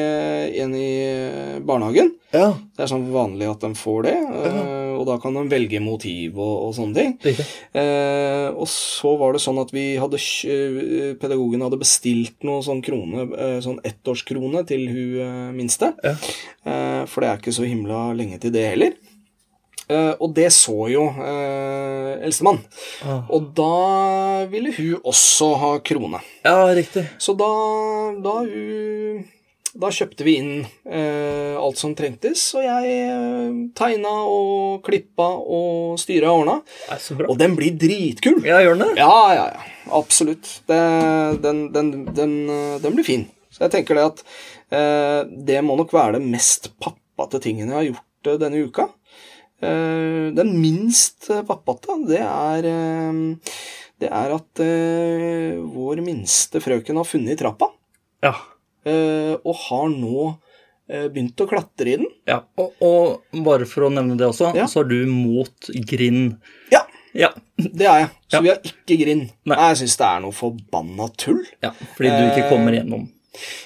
[SPEAKER 1] en i barnehagen.
[SPEAKER 2] Ja,
[SPEAKER 1] Det er sånn vanlig at de får det, eh, og da kan de velge motiv og, og sånne ting.
[SPEAKER 2] riktig.
[SPEAKER 1] Eh, og så var det sånn at vi hadde kj- eh, Pedagogen hadde bestilt noe sånn krone, eh, sånn ettårskrone til hun eh, minste.
[SPEAKER 2] Ja.
[SPEAKER 1] Eh, for det er ikke så himla lenge til det heller. Eh, og det så jo eh, eldstemann.
[SPEAKER 2] Ah.
[SPEAKER 1] Og da ville hun også ha krone.
[SPEAKER 2] Ja, riktig.
[SPEAKER 1] Så da, da, u- da kjøpte vi inn eh, alt som trengtes, og jeg eh, tegna og klippa og styra og ordna.
[SPEAKER 2] Nei, så bra.
[SPEAKER 1] Og den blir dritkul!
[SPEAKER 2] Ja, gjør den det?
[SPEAKER 1] Ja, ja, ja. Absolutt. Det, den, den, den, eh, den blir fin. Så jeg tenker det at eh, det må nok være det mest pappate tingen jeg har gjort eh, denne uka. Eh, den minst eh, pappate, det er eh, Det er at eh, vår minste frøken har funnet trappa,
[SPEAKER 2] Ja.
[SPEAKER 1] eh, og har nå eh, begynt å klatre i den.
[SPEAKER 2] ja. Og, og bare for å nevne det også,
[SPEAKER 1] Ja.
[SPEAKER 2] så er du mot grind.
[SPEAKER 1] Ja.
[SPEAKER 2] Ja.
[SPEAKER 1] Det er jeg. Så
[SPEAKER 2] Ja.
[SPEAKER 1] vi har ikke grind.
[SPEAKER 2] Nei.
[SPEAKER 1] Jeg syns det er noe forbanna tull.
[SPEAKER 2] ja. Fordi du ikke kommer gjennom.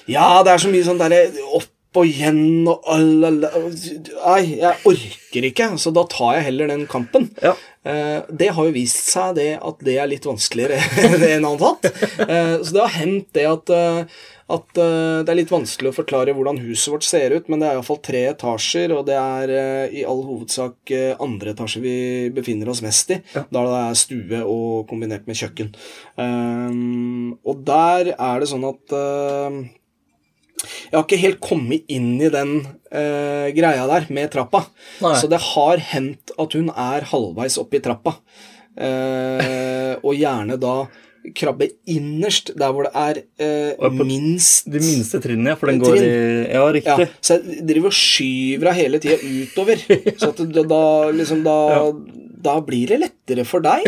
[SPEAKER 1] Ja, det er så mye sånn derre opp og igjen og alle alle- Nei, jeg orker ikke, så da tar jeg heller den kampen.
[SPEAKER 2] Ja.
[SPEAKER 1] Eh, det har jo vist seg det at det er litt vanskeligere enn antatt. Eh, så det har hendt det at eh, at eh, Det er litt vanskelig å forklare hvordan huset vårt ser ut, men det er iallfall tre etasjer, og det er eh, i all hovedsak eh, andre etasje vi befinner oss mest i. Da det er stue og kombinert med kjøkken. Ehm, og der er det sånn at eh, jeg har ikke helt kommet inn i den eh, greia der med trappa.
[SPEAKER 2] Nei.
[SPEAKER 1] Så det har hendt at hun er halvveis oppi trappa. Eh, og gjerne da krabbe innerst der hvor det er eh,
[SPEAKER 2] Og på-
[SPEAKER 1] minst
[SPEAKER 2] De minste trinnene, ja, for den
[SPEAKER 1] Trinn.
[SPEAKER 2] går i Ja,
[SPEAKER 1] ja,
[SPEAKER 2] riktig.
[SPEAKER 1] Så jeg driver og skyver henne hele tida utover. Så at da, da, liksom, da, da blir det lettere for deg.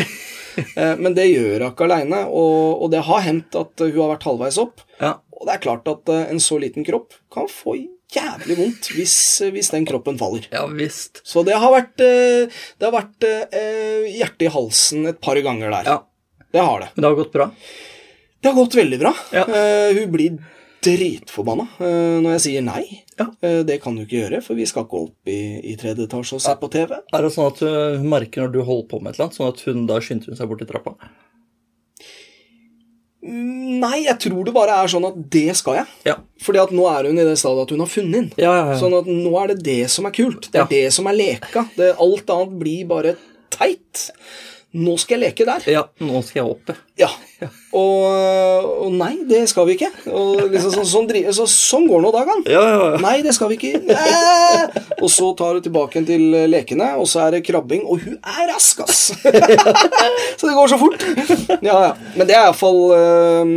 [SPEAKER 1] Eh, Men det gjør hun ikke aleine. Og, og det har hendt at hun har vært halvveis opp.
[SPEAKER 2] Ja.
[SPEAKER 1] Og det er klart at eh, en så liten kropp kan få jævlig vondt hvis, eh, hvis den kroppen faller.
[SPEAKER 2] Ja visst.
[SPEAKER 1] Så det har vært, eh, det har vært eh, hjertet i halsen et par ganger der.
[SPEAKER 2] Ja.
[SPEAKER 1] Det har det.
[SPEAKER 2] Men det har gått bra.
[SPEAKER 1] Det har gått veldig bra.
[SPEAKER 2] Ja.
[SPEAKER 1] Eh, hun blir dritforbanna eh, når jeg sier nei.
[SPEAKER 2] Ja.
[SPEAKER 1] Eh, det kan du ikke gjøre, for vi skal ikke opp i, i tredje etasje og se på TV.
[SPEAKER 2] Er det sånn at uh, hun merker når du holder på med et eller annet, sånn at hun da skynder hun seg bort til trappa?
[SPEAKER 1] Mm, Nei, jeg tror det bare er sånn at det skal jeg.
[SPEAKER 2] Ja.
[SPEAKER 1] Fordi at nå er hun i det stadiet at hun har funnet den.
[SPEAKER 2] Ja, ja, ja.
[SPEAKER 1] Sånn at nå er det det som er kult. Det er
[SPEAKER 2] Eh. Ja.
[SPEAKER 1] det som er leka. Det, alt annet blir bare teit. Nå skal jeg leke der.
[SPEAKER 2] Ja, nå skal jeg opp, ja.
[SPEAKER 1] Ja. Og, og nei, det skal vi ikke. Og liksom sånn, sånn, dri- så, sånn går nå dagene.
[SPEAKER 2] Ja, ja, ja.
[SPEAKER 1] Nei, det skal vi ikke. Nei. Og så tar hun tilbake igjen til eh, lekene, og så er det krabbing. Og hun er rask, ass! så det går så fort. Ja, ja. Men det er iallfall eh,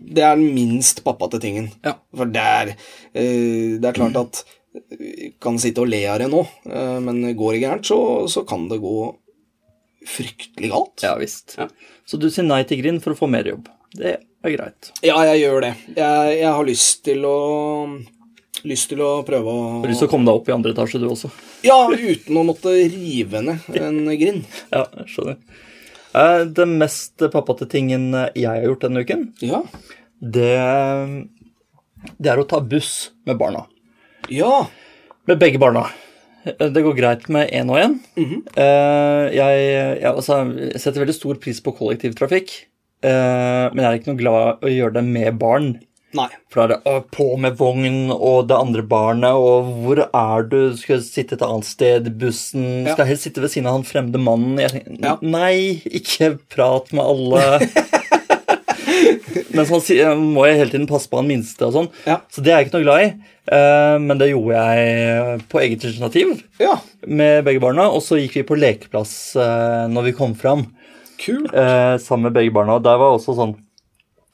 [SPEAKER 1] Det er den minst pappate tingen.
[SPEAKER 2] Ja.
[SPEAKER 1] For det er, eh, det er klart at eh, kan sitte og le av det nå, eh, men går det gærent, så, så kan det gå fryktelig galt.
[SPEAKER 2] Ja visst. Så du sier nei til grind for å få mer jobb. Det er greit.
[SPEAKER 1] Ja, jeg gjør det. Jeg, jeg har lyst til å Lyst til å prøve
[SPEAKER 2] Du har
[SPEAKER 1] å
[SPEAKER 2] lyst til å komme deg opp i andre etasje, du også.
[SPEAKER 1] Ja, uten å måtte rive ned en grind.
[SPEAKER 2] Ja, jeg skjønner. Eh, Den mest pappate tingen jeg har gjort denne uken,
[SPEAKER 1] Ja.
[SPEAKER 2] det, det er å ta buss med barna.
[SPEAKER 1] Ja.
[SPEAKER 2] Med begge barna. Det går greit med én og én. Eh, jeg, jeg altså, jeg setter veldig stor pris på kollektivtrafikk, eh, men jeg er ikke noe glad i å gjøre det med barn.
[SPEAKER 1] Nei.
[SPEAKER 2] For da er det «Å, på med vogn og det andre barnet, og hvor er du? Skal jeg sitte et annet sted? Bussen?
[SPEAKER 1] Ja.
[SPEAKER 2] Skal jeg helst sitte ved siden av han fremmede mannen? Jeg tenker,
[SPEAKER 1] Ja.
[SPEAKER 2] Nei, ikke prat med alle. Men sånn si- må jeg hele tiden passe på han minste og sånn.
[SPEAKER 1] Ja.
[SPEAKER 2] Så det er jeg ikke noe glad i. Eh, Men det gjorde jeg på eget initiativ
[SPEAKER 1] Ja.
[SPEAKER 2] med begge barna. Og så gikk vi på lekeplass eh, når vi kom fram
[SPEAKER 1] Kul.
[SPEAKER 2] eh, sammen med begge barna. Og der var også sånn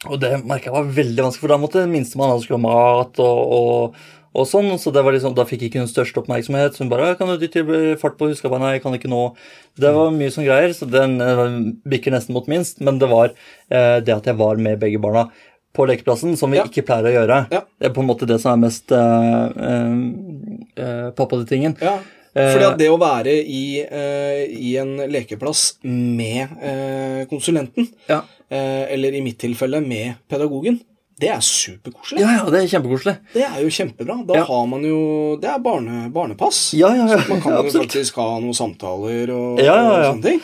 [SPEAKER 2] Og det merka jeg var veldig vanskelig, for da måtte minstemann han skulle ha mat og, og, og sånn. Så det var liksom, da fikk ikke hun største oppmerksomhet. Så hun bare «Ja, 'Kan du dytte fart på huskabeina? Jeg kan ikke nå.' Det var mye sånne greier, så den eh, bikker nesten mot minst. Men det var eh, det at jeg var med begge barna på lekeplassen, som vi
[SPEAKER 1] Ja.
[SPEAKER 2] ikke pleier å gjøre.
[SPEAKER 1] Ja.
[SPEAKER 2] Det er på en måte det som er mest eh, eh, eh, pappa-tingen.
[SPEAKER 1] Ja. Fordi at det å være i, eh, i en lekeplass med eh, konsulenten,
[SPEAKER 2] Ja.
[SPEAKER 1] eh, eller i mitt tilfelle med pedagogen, Det er superkoselig.
[SPEAKER 2] Ja, ja, det er kjempekoselig.
[SPEAKER 1] Det er jo kjempebra. Da
[SPEAKER 2] Ja.
[SPEAKER 1] har man jo Det er barne, barnepass.
[SPEAKER 2] Ja, ja, ja,
[SPEAKER 1] Man kan jo
[SPEAKER 2] absolutt.
[SPEAKER 1] faktisk ha noen samtaler og,
[SPEAKER 2] Ja, ja, ja.
[SPEAKER 1] og sånne ting.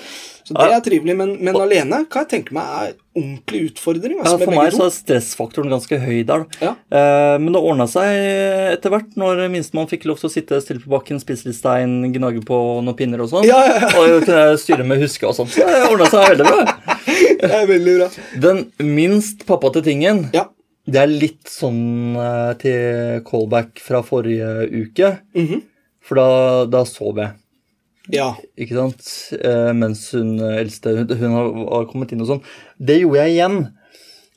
[SPEAKER 1] Så det er trivelig. Men, men alene kan jeg tenke meg er ordentlig utfordring.
[SPEAKER 2] Ja,
[SPEAKER 1] Altså,
[SPEAKER 2] for
[SPEAKER 1] med
[SPEAKER 2] meg
[SPEAKER 1] begge
[SPEAKER 2] så
[SPEAKER 1] to.
[SPEAKER 2] er stressfaktoren ganske høy der. da.
[SPEAKER 1] Ja.
[SPEAKER 2] Eh, men det ordna seg etter hvert, når minstemann fikk lov til å sitte stille på bakken, spise litt stein, gnage på noen pinner og sånn.
[SPEAKER 1] Ja, ja, ja.
[SPEAKER 2] Og kunne jeg styre med huske og sånn. Så det ordna seg veldig bra.
[SPEAKER 1] Det er veldig bra.
[SPEAKER 2] Den minst pappate tingen,
[SPEAKER 1] Ja.
[SPEAKER 2] det er litt sånn eh, til callback fra forrige uke.
[SPEAKER 1] Mhm.
[SPEAKER 2] For da, da sov jeg.
[SPEAKER 1] ja.
[SPEAKER 2] Ikke sant? Eh, mens hun eh, eldste hun, hun har, har kommet inn og sånn. Det gjorde jeg igjen.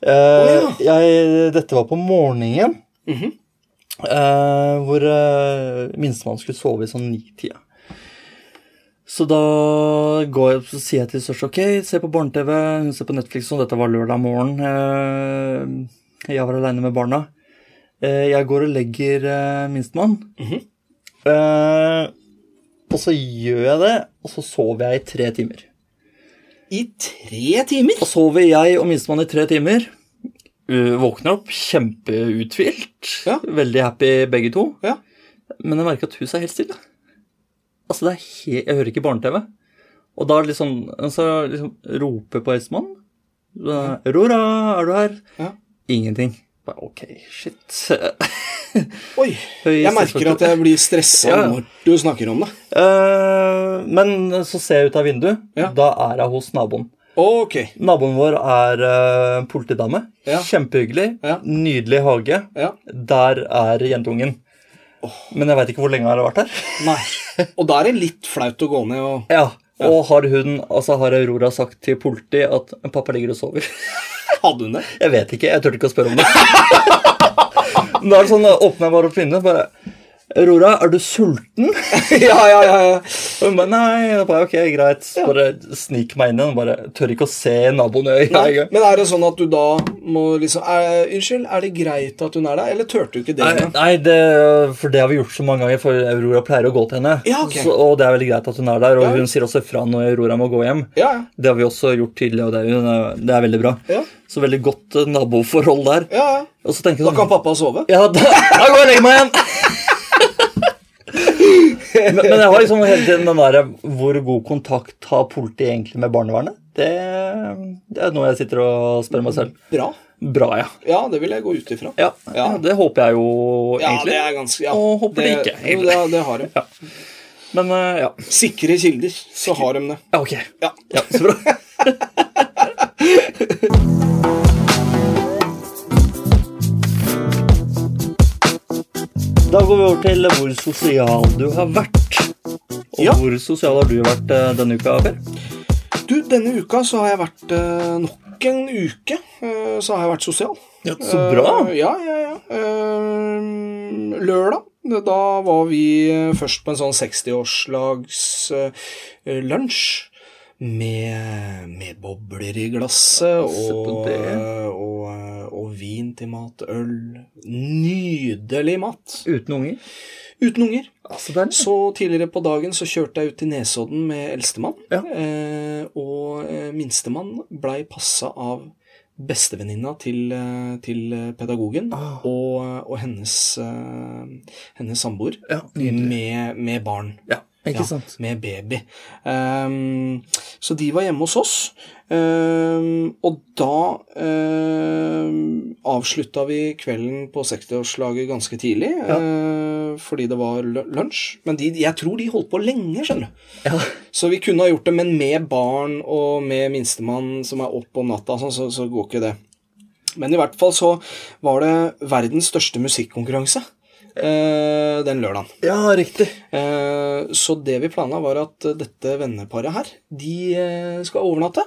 [SPEAKER 2] Eh,
[SPEAKER 1] Å,
[SPEAKER 2] jeg, dette var på morgenen.
[SPEAKER 1] Mhm.
[SPEAKER 2] eh, hvor eh, minstemann skulle sove i sånn ni-tida. Så da går jeg, så sier jeg til søster ok, se på barne-TV, hun ser på Netflix og dette var lørdag morgen. eh, jeg var aleine med barna. Eh, jeg går og legger eh, minstemann.
[SPEAKER 1] Mhm.
[SPEAKER 2] Eh, og så gjør jeg det, og så sover jeg i tre timer.
[SPEAKER 1] I tre timer?
[SPEAKER 2] Da sover jeg og minstemann i tre timer. Uh, våkner opp kjempeuthvilt.
[SPEAKER 1] Ja.
[SPEAKER 2] Veldig happy begge to.
[SPEAKER 1] Ja.
[SPEAKER 2] Men jeg merker at huset er helt stille. Altså, det er he Jeg hører ikke barne-TV. Og da liksom, så liksom roper på eldstemann. Da, Aurora, er du her?
[SPEAKER 1] Ja.
[SPEAKER 2] Ingenting. Bare, ok, shit.
[SPEAKER 1] Oi.
[SPEAKER 2] Høy
[SPEAKER 1] Jeg merker at jeg blir stressa
[SPEAKER 2] Ja, ja.
[SPEAKER 1] når du snakker om det.
[SPEAKER 2] Eh, men så ser jeg ut av vinduet.
[SPEAKER 1] Ja.
[SPEAKER 2] Da er jeg hos naboen.
[SPEAKER 1] Ok.
[SPEAKER 2] Naboen vår er eh, politidame.
[SPEAKER 1] Ja.
[SPEAKER 2] Kjempehyggelig.
[SPEAKER 1] Ja.
[SPEAKER 2] Nydelig hage.
[SPEAKER 1] Ja.
[SPEAKER 2] Der er jentungen. Men jeg veit ikke hvor lenge han har vært her.
[SPEAKER 1] Nei. Og da er det litt flaut å gå ned og
[SPEAKER 2] Ja. Og har hun, altså har Aurora sagt til politi at 'pappa ligger og sover'?
[SPEAKER 1] Hadde hun det?
[SPEAKER 2] Jeg vet ikke. Jeg turte ikke å spørre om det. Men da er det sånn, åpner jeg bare opp vinduet bare 'Aurora, er du sulten?'
[SPEAKER 1] ja, ja, ja, ja.
[SPEAKER 2] Og hun bare 'nei'. Da bare, ok, greit. Bare snik meg inn igjen. Bare tør ikke å se naboen i øynene.
[SPEAKER 1] Nei,
[SPEAKER 2] engang.
[SPEAKER 1] men er det sånn at du da må liksom er, Unnskyld, er det greit at hun er der, eller turte du ikke det?
[SPEAKER 2] Nei, nei det, for det har vi gjort så mange ganger, for Aurora pleier å gå til henne.
[SPEAKER 1] Ja, ok.
[SPEAKER 2] så, og det er veldig greit at hun er der, og
[SPEAKER 1] Ja.
[SPEAKER 2] hun sier også fra når Aurora må gå hjem.
[SPEAKER 1] Ja, ja.
[SPEAKER 2] Det har vi også gjort tidligere, og det er, hun er- det er veldig bra.
[SPEAKER 1] Ja.
[SPEAKER 2] Så veldig godt eh, naboforhold der.
[SPEAKER 1] ja, ja.
[SPEAKER 2] Og så tenker jeg
[SPEAKER 1] Da kan
[SPEAKER 2] sånn
[SPEAKER 1] pappa sove?
[SPEAKER 2] Ja, da, da går jeg og legger meg igjen! men, men jeg har liksom hele tiden den derre Hvor god kontakt har politiet egentlig med barnevernet? Det, det er noe jeg sitter og spør meg selv.
[SPEAKER 1] Bra.
[SPEAKER 2] Bra, ja.
[SPEAKER 1] Ja, det vil jeg gå ut ifra.
[SPEAKER 2] Ja, ja.
[SPEAKER 1] Ja.
[SPEAKER 2] Det håper jeg jo
[SPEAKER 1] Ja,
[SPEAKER 2] egentlig.
[SPEAKER 1] det er ganske ja.
[SPEAKER 2] Og håper det ikke,
[SPEAKER 1] Jo, det, det har de.
[SPEAKER 2] Men eh, ja.
[SPEAKER 1] Sikre kilder, så har de det.
[SPEAKER 2] ja, ok.
[SPEAKER 1] Ja.
[SPEAKER 2] Ja, så bra. Da går vi over til hvor sosial du har vært. Og
[SPEAKER 1] Ja.
[SPEAKER 2] hvor sosial har du vært eh, denne uka, Per?
[SPEAKER 1] Du, denne uka så har jeg vært eh, Nok en uke eh, så har jeg vært sosial.
[SPEAKER 2] Ja, så bra.
[SPEAKER 1] Eh, ja, ja, ja. Eh, lørdag, da var vi eh, først på en sånn 60-årslags eh, lunsj. Med, med bobler i glasset
[SPEAKER 2] Se på
[SPEAKER 1] og,
[SPEAKER 2] det.
[SPEAKER 1] eh, og, eh, og vin til mat, øl. Nydelig mat.
[SPEAKER 2] Uten unger?
[SPEAKER 1] Uten unger.
[SPEAKER 2] Altså, det er
[SPEAKER 1] Så tidligere på dagen så kjørte jeg ut til Nesodden med eldstemann.
[SPEAKER 2] Ja.
[SPEAKER 1] Eh, og eh, minstemann blei passa av bestevenninna til, eh, til eh, pedagogen
[SPEAKER 2] Ah.
[SPEAKER 1] og, og hennes, eh, hennes samboer
[SPEAKER 2] ja, nydelig.
[SPEAKER 1] med, med barn.
[SPEAKER 2] Ja, ikke
[SPEAKER 1] Ja,
[SPEAKER 2] sant?
[SPEAKER 1] Med baby. Ehm, så de var hjemme hos oss. Ehm, og da um, avslutta vi kvelden på 60-årslaget ganske tidlig. eh, fordi det var lu- lunsj. Men de, jeg tror de holdt på lenge, skjønner du.
[SPEAKER 2] Ja.
[SPEAKER 1] Så vi kunne ha gjort det, men med barn og med minstemann som er opp om natta, sånn, så, så går ikke det. Men i hvert fall så var det verdens største musikkonkurranse eh, den lørdagen.
[SPEAKER 2] ja, riktig.
[SPEAKER 1] Eh, Så det vi planla, var at eh, dette venneparet her, de eh, skal overnatte.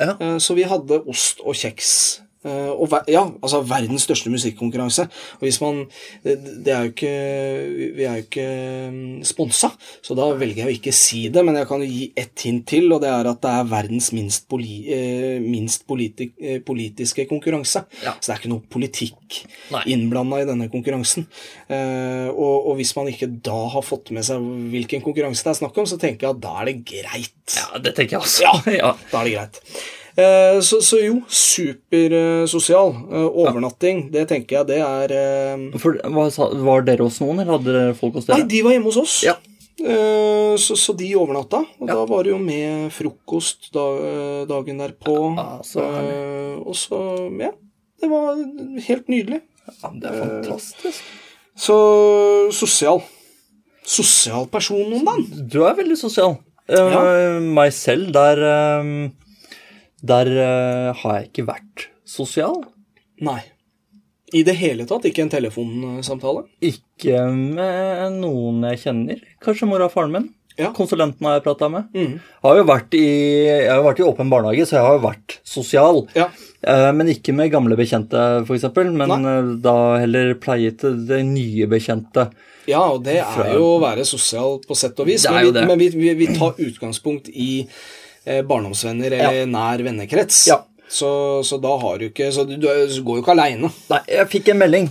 [SPEAKER 2] Ja.
[SPEAKER 1] Eh, Så vi hadde ost og kjeks. Eh, Og ver ja, altså verdens største musikkonkurranse. Og hvis man Det det er jo ikke Vi er jo ikke mm, sponsa, så da velger jeg å ikke si det, men jeg kan jo gi ett hint til, og det er at det er verdens minst, poli eh, minst politi eh, politiske konkurranse.
[SPEAKER 2] Ja.
[SPEAKER 1] Så det er ikke noe politikk
[SPEAKER 2] Nei.
[SPEAKER 1] innblanda i denne konkurransen. Eh, og, og hvis man ikke da har fått med seg hvilken konkurranse det er snakk om, så tenker jeg at da er det greit.
[SPEAKER 2] Ja, det tenker jeg også. Ja.
[SPEAKER 1] Da er det greit. Eh, Så, så jo, supersosial. eh, Overnatting, det tenker jeg det er eh,
[SPEAKER 2] For, hva, sa- var dere hos noen, eller hadde dere folk hos dere?
[SPEAKER 1] Nei, de var hjemme hos oss.
[SPEAKER 2] Ja.
[SPEAKER 1] Eh, Så, så de overnatta, og
[SPEAKER 2] Ja.
[SPEAKER 1] da var det jo med frokost da, eh, dagen derpå.
[SPEAKER 2] Ja, så herlig.
[SPEAKER 1] Eh, og så Ja. Det var helt nydelig.
[SPEAKER 2] Ja, men det er fantastisk.
[SPEAKER 1] Så sosial. Sosial person om dagen.
[SPEAKER 2] Du er veldig sosial. Eh, Meg selv, der eh, Der eh, har jeg ikke vært sosial.
[SPEAKER 1] Nei. I det hele tatt ikke en telefonsamtale?
[SPEAKER 2] Ikke med noen jeg kjenner. Kanskje mora og faren min.
[SPEAKER 1] Ja.
[SPEAKER 2] Konsulenten har jeg prata med.
[SPEAKER 1] Mhm.
[SPEAKER 2] Har jo vært i, jeg har jo vært i åpen barnehage, så jeg har jo vært sosial.
[SPEAKER 1] Ja.
[SPEAKER 2] Eh, Men ikke med gamle bekjente, f.eks., men eh, da heller pleiete det nye bekjente.
[SPEAKER 1] Ja, og det er jo å være sosial på sett og vis,
[SPEAKER 2] Det er
[SPEAKER 1] men,
[SPEAKER 2] jo
[SPEAKER 1] vi,
[SPEAKER 2] det.
[SPEAKER 1] men vi, vi, vi tar utgangspunkt i eh, barndomsvenner eller nær vennekrets.
[SPEAKER 2] Ja.
[SPEAKER 1] Så, så da har du ikke Så du, du er- så går jo ikke aleine.
[SPEAKER 2] Nei, jeg fikk en melding.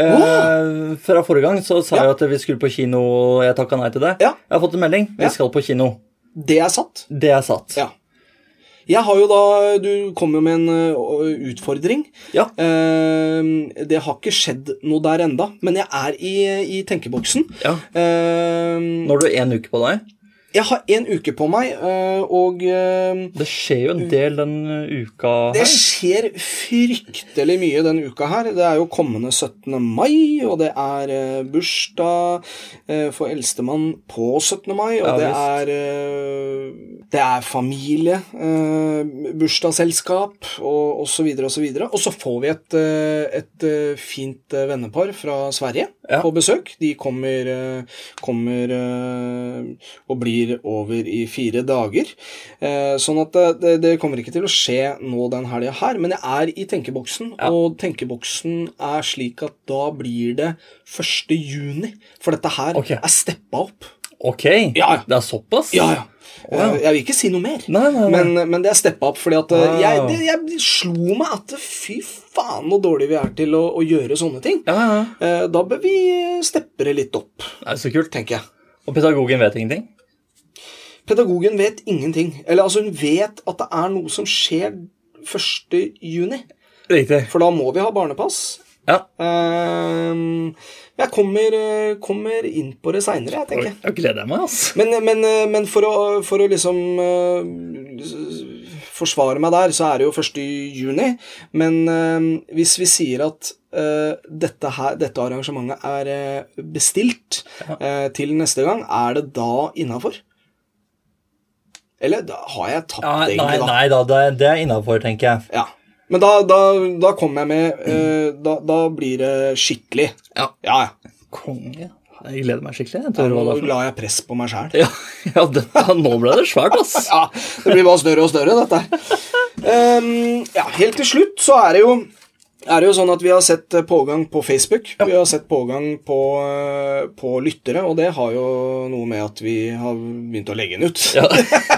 [SPEAKER 2] Eh, fra forrige gang så sa jeg at vi skulle på kino, og jeg takka nei til det.
[SPEAKER 1] Ja.
[SPEAKER 2] Jeg har fått en melding. Vi
[SPEAKER 1] Ja.
[SPEAKER 2] skal på kino.
[SPEAKER 1] Det er satt.
[SPEAKER 2] Det er satt.
[SPEAKER 1] Ja. Jeg har jo da Du kom jo med en ø, ø, utfordring.
[SPEAKER 2] Ja.
[SPEAKER 1] Eh. Ehm, det har ikke skjedd noe der enda, men jeg er i, i tenkeboksen.
[SPEAKER 2] Ja.
[SPEAKER 1] Ehm,
[SPEAKER 2] Nå har du én uke på deg.
[SPEAKER 1] jeg har én uke på meg, ø, og eh, ø,
[SPEAKER 2] Det skjer jo en del den uka
[SPEAKER 1] Mm. det
[SPEAKER 2] her.
[SPEAKER 1] skjer fryktelig mye den uka her. Det er jo kommende 17. mai, og det er ø, bursdag ø, for eldstemann på 17. mai, og
[SPEAKER 2] Ja,
[SPEAKER 1] det
[SPEAKER 2] visst.
[SPEAKER 1] er ø, Det er familie, ø, bursdagsselskap og osv. og så videre. Og så får vi et, ø, et ø, fint ø, vennepar fra Sverige
[SPEAKER 2] Ja.
[SPEAKER 1] på besøk. De kommer, ø, kommer ø, og blir over i fire dager. Eh, Sånn at det- det, det kommer ikke til å skje nå den helga her, men jeg er i tenkeboksen,
[SPEAKER 2] Ja.
[SPEAKER 1] og tenkeboksen er slik at da blir det 1. juni, for dette her
[SPEAKER 2] Ok.
[SPEAKER 1] er steppa opp.
[SPEAKER 2] Ok,
[SPEAKER 1] Ja, ja.
[SPEAKER 2] det er såpass?
[SPEAKER 1] Ja, ja.
[SPEAKER 2] Wow.
[SPEAKER 1] Eh, Jeg vil ikke si noe mer.
[SPEAKER 2] Nei, nei, nei.
[SPEAKER 1] Men, eh, men det er steppa opp, fordi at eh,
[SPEAKER 2] Wow.
[SPEAKER 1] jeg, det, jeg slo meg at eh, fy faen så dårlig vi er til å, å gjøre sånne ting.
[SPEAKER 2] ja, ja.
[SPEAKER 1] Eh, Da bør vi steppe det litt opp,
[SPEAKER 2] Det er så kult.
[SPEAKER 1] tenker jeg.
[SPEAKER 2] Og pedagogen vet ingenting?
[SPEAKER 1] Pedagogen vet ingenting. Eller altså, hun vet at det er noe som skjer 1. juni.
[SPEAKER 2] Riktig.
[SPEAKER 1] For da må vi ha barnepass.
[SPEAKER 2] Ja.
[SPEAKER 1] Ehm, jeg kommer, eh, kommer inn på det seinere, jeg, tenker jeg.
[SPEAKER 2] Da gleder jeg meg, ass.
[SPEAKER 1] Men, men, eh, men for, å, for å liksom eh, s- forsvare meg der, så er det jo 1. juni. Men eh, hvis vi sier at eh, dette, her, dette arrangementet er eh, bestilt eh, til neste gang, er det da innafor? Eller da har jeg tapt,
[SPEAKER 2] Ja, nei,
[SPEAKER 1] egentlig, da?
[SPEAKER 2] nei da, det, det er innafor, tenker jeg.
[SPEAKER 1] Ja. Men da, da, da kommer jeg med eh, da, da blir det skikkelig.
[SPEAKER 2] Ja.
[SPEAKER 1] Ja, ja.
[SPEAKER 2] Konge. Jeg gleder meg skikkelig. Jeg
[SPEAKER 1] Nå
[SPEAKER 2] tror det
[SPEAKER 1] la jeg press på meg sjæl.
[SPEAKER 2] ja, ja, det, ja, nå ble det svært, ass.
[SPEAKER 1] Ja, det blir bare større og større, dette her. Ehm, ja, helt til slutt så er det jo er det jo sånn at Vi har sett eh, pågang på Facebook, vi har sett pågang på, eh, på lyttere, og det har jo noe med at vi har begynt å legge den ut.
[SPEAKER 2] Ja,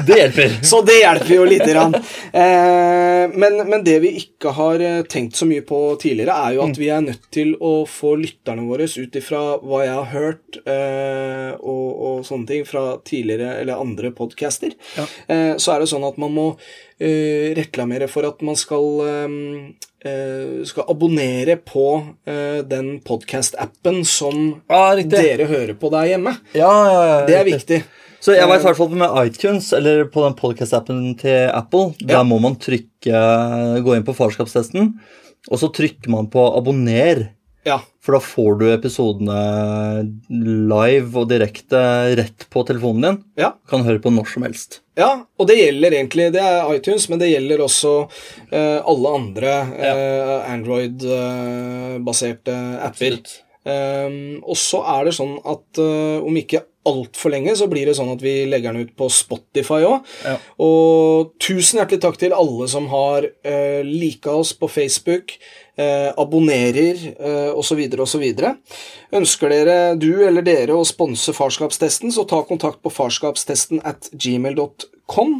[SPEAKER 2] det hjelper.
[SPEAKER 1] Så det hjelper jo lite grann. Eh, men, men det vi ikke har eh, tenkt så mye på tidligere, er
[SPEAKER 2] Mm.
[SPEAKER 1] jo at vi er nødt til å få lytterne våre ut ifra hva jeg har hørt eh, og, og sånne ting fra tidligere eller andre podcaster. Eh, så er det sånn at man må eh, reklamere for at man skal eh, eh, skal abonnere på eh, den podcast-appen som
[SPEAKER 2] Ja, riktig.
[SPEAKER 1] dere hører på der hjemme.
[SPEAKER 2] Ja, ja, ja,
[SPEAKER 1] Det er
[SPEAKER 2] riktig.
[SPEAKER 1] viktig.
[SPEAKER 2] Så jeg vet i hvert fall med iTunes, eller på den podcast-appen til Apple, der må man trykke, gå inn på farskapstesten, og så trykker man på abonner,
[SPEAKER 1] Ja.
[SPEAKER 2] for da får du episodene live og direkte rett på telefonen din.
[SPEAKER 1] ja.
[SPEAKER 2] Kan høre på når som helst.
[SPEAKER 1] Ja, og det gjelder egentlig Det er iTunes, men det gjelder også eh, alle andre eh, Android-baserte apper.
[SPEAKER 2] Absolutt.
[SPEAKER 1] Um, og så er det sånn at eh, om ikke altfor lenge, så blir det sånn at vi legger den ut på Spotify òg.
[SPEAKER 2] Ja.
[SPEAKER 1] Og tusen hjertelig takk til alle som har uh, lika oss på Facebook, eh, abonnerer eh, og så videre og så videre Ønsker dere, du eller dere, å sponse Farskapstesten, så ta kontakt på farskapstesten at gmail.com.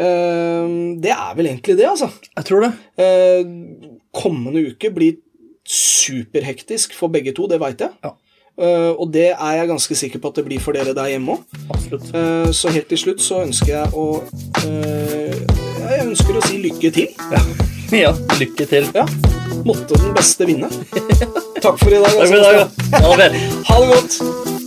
[SPEAKER 1] Eh, det er vel egentlig det, altså.
[SPEAKER 2] Jeg tror det.
[SPEAKER 1] Eh, kommende uke blir superhektisk for begge to, det veit jeg.
[SPEAKER 2] Ja.
[SPEAKER 1] Eh, og det er jeg ganske sikker på at det blir for dere der hjemme òg.
[SPEAKER 2] Absolutt.
[SPEAKER 1] så helt til slutt så ønsker jeg å eh, Og jeg ønsker å si lykke til.
[SPEAKER 2] Ja. ja. Lykke til.
[SPEAKER 1] Ja. Måtte den beste vinne. Takk for i dag.
[SPEAKER 2] Takk for i dag.
[SPEAKER 1] altså.
[SPEAKER 2] da. Ha det vel.
[SPEAKER 1] Ha det godt.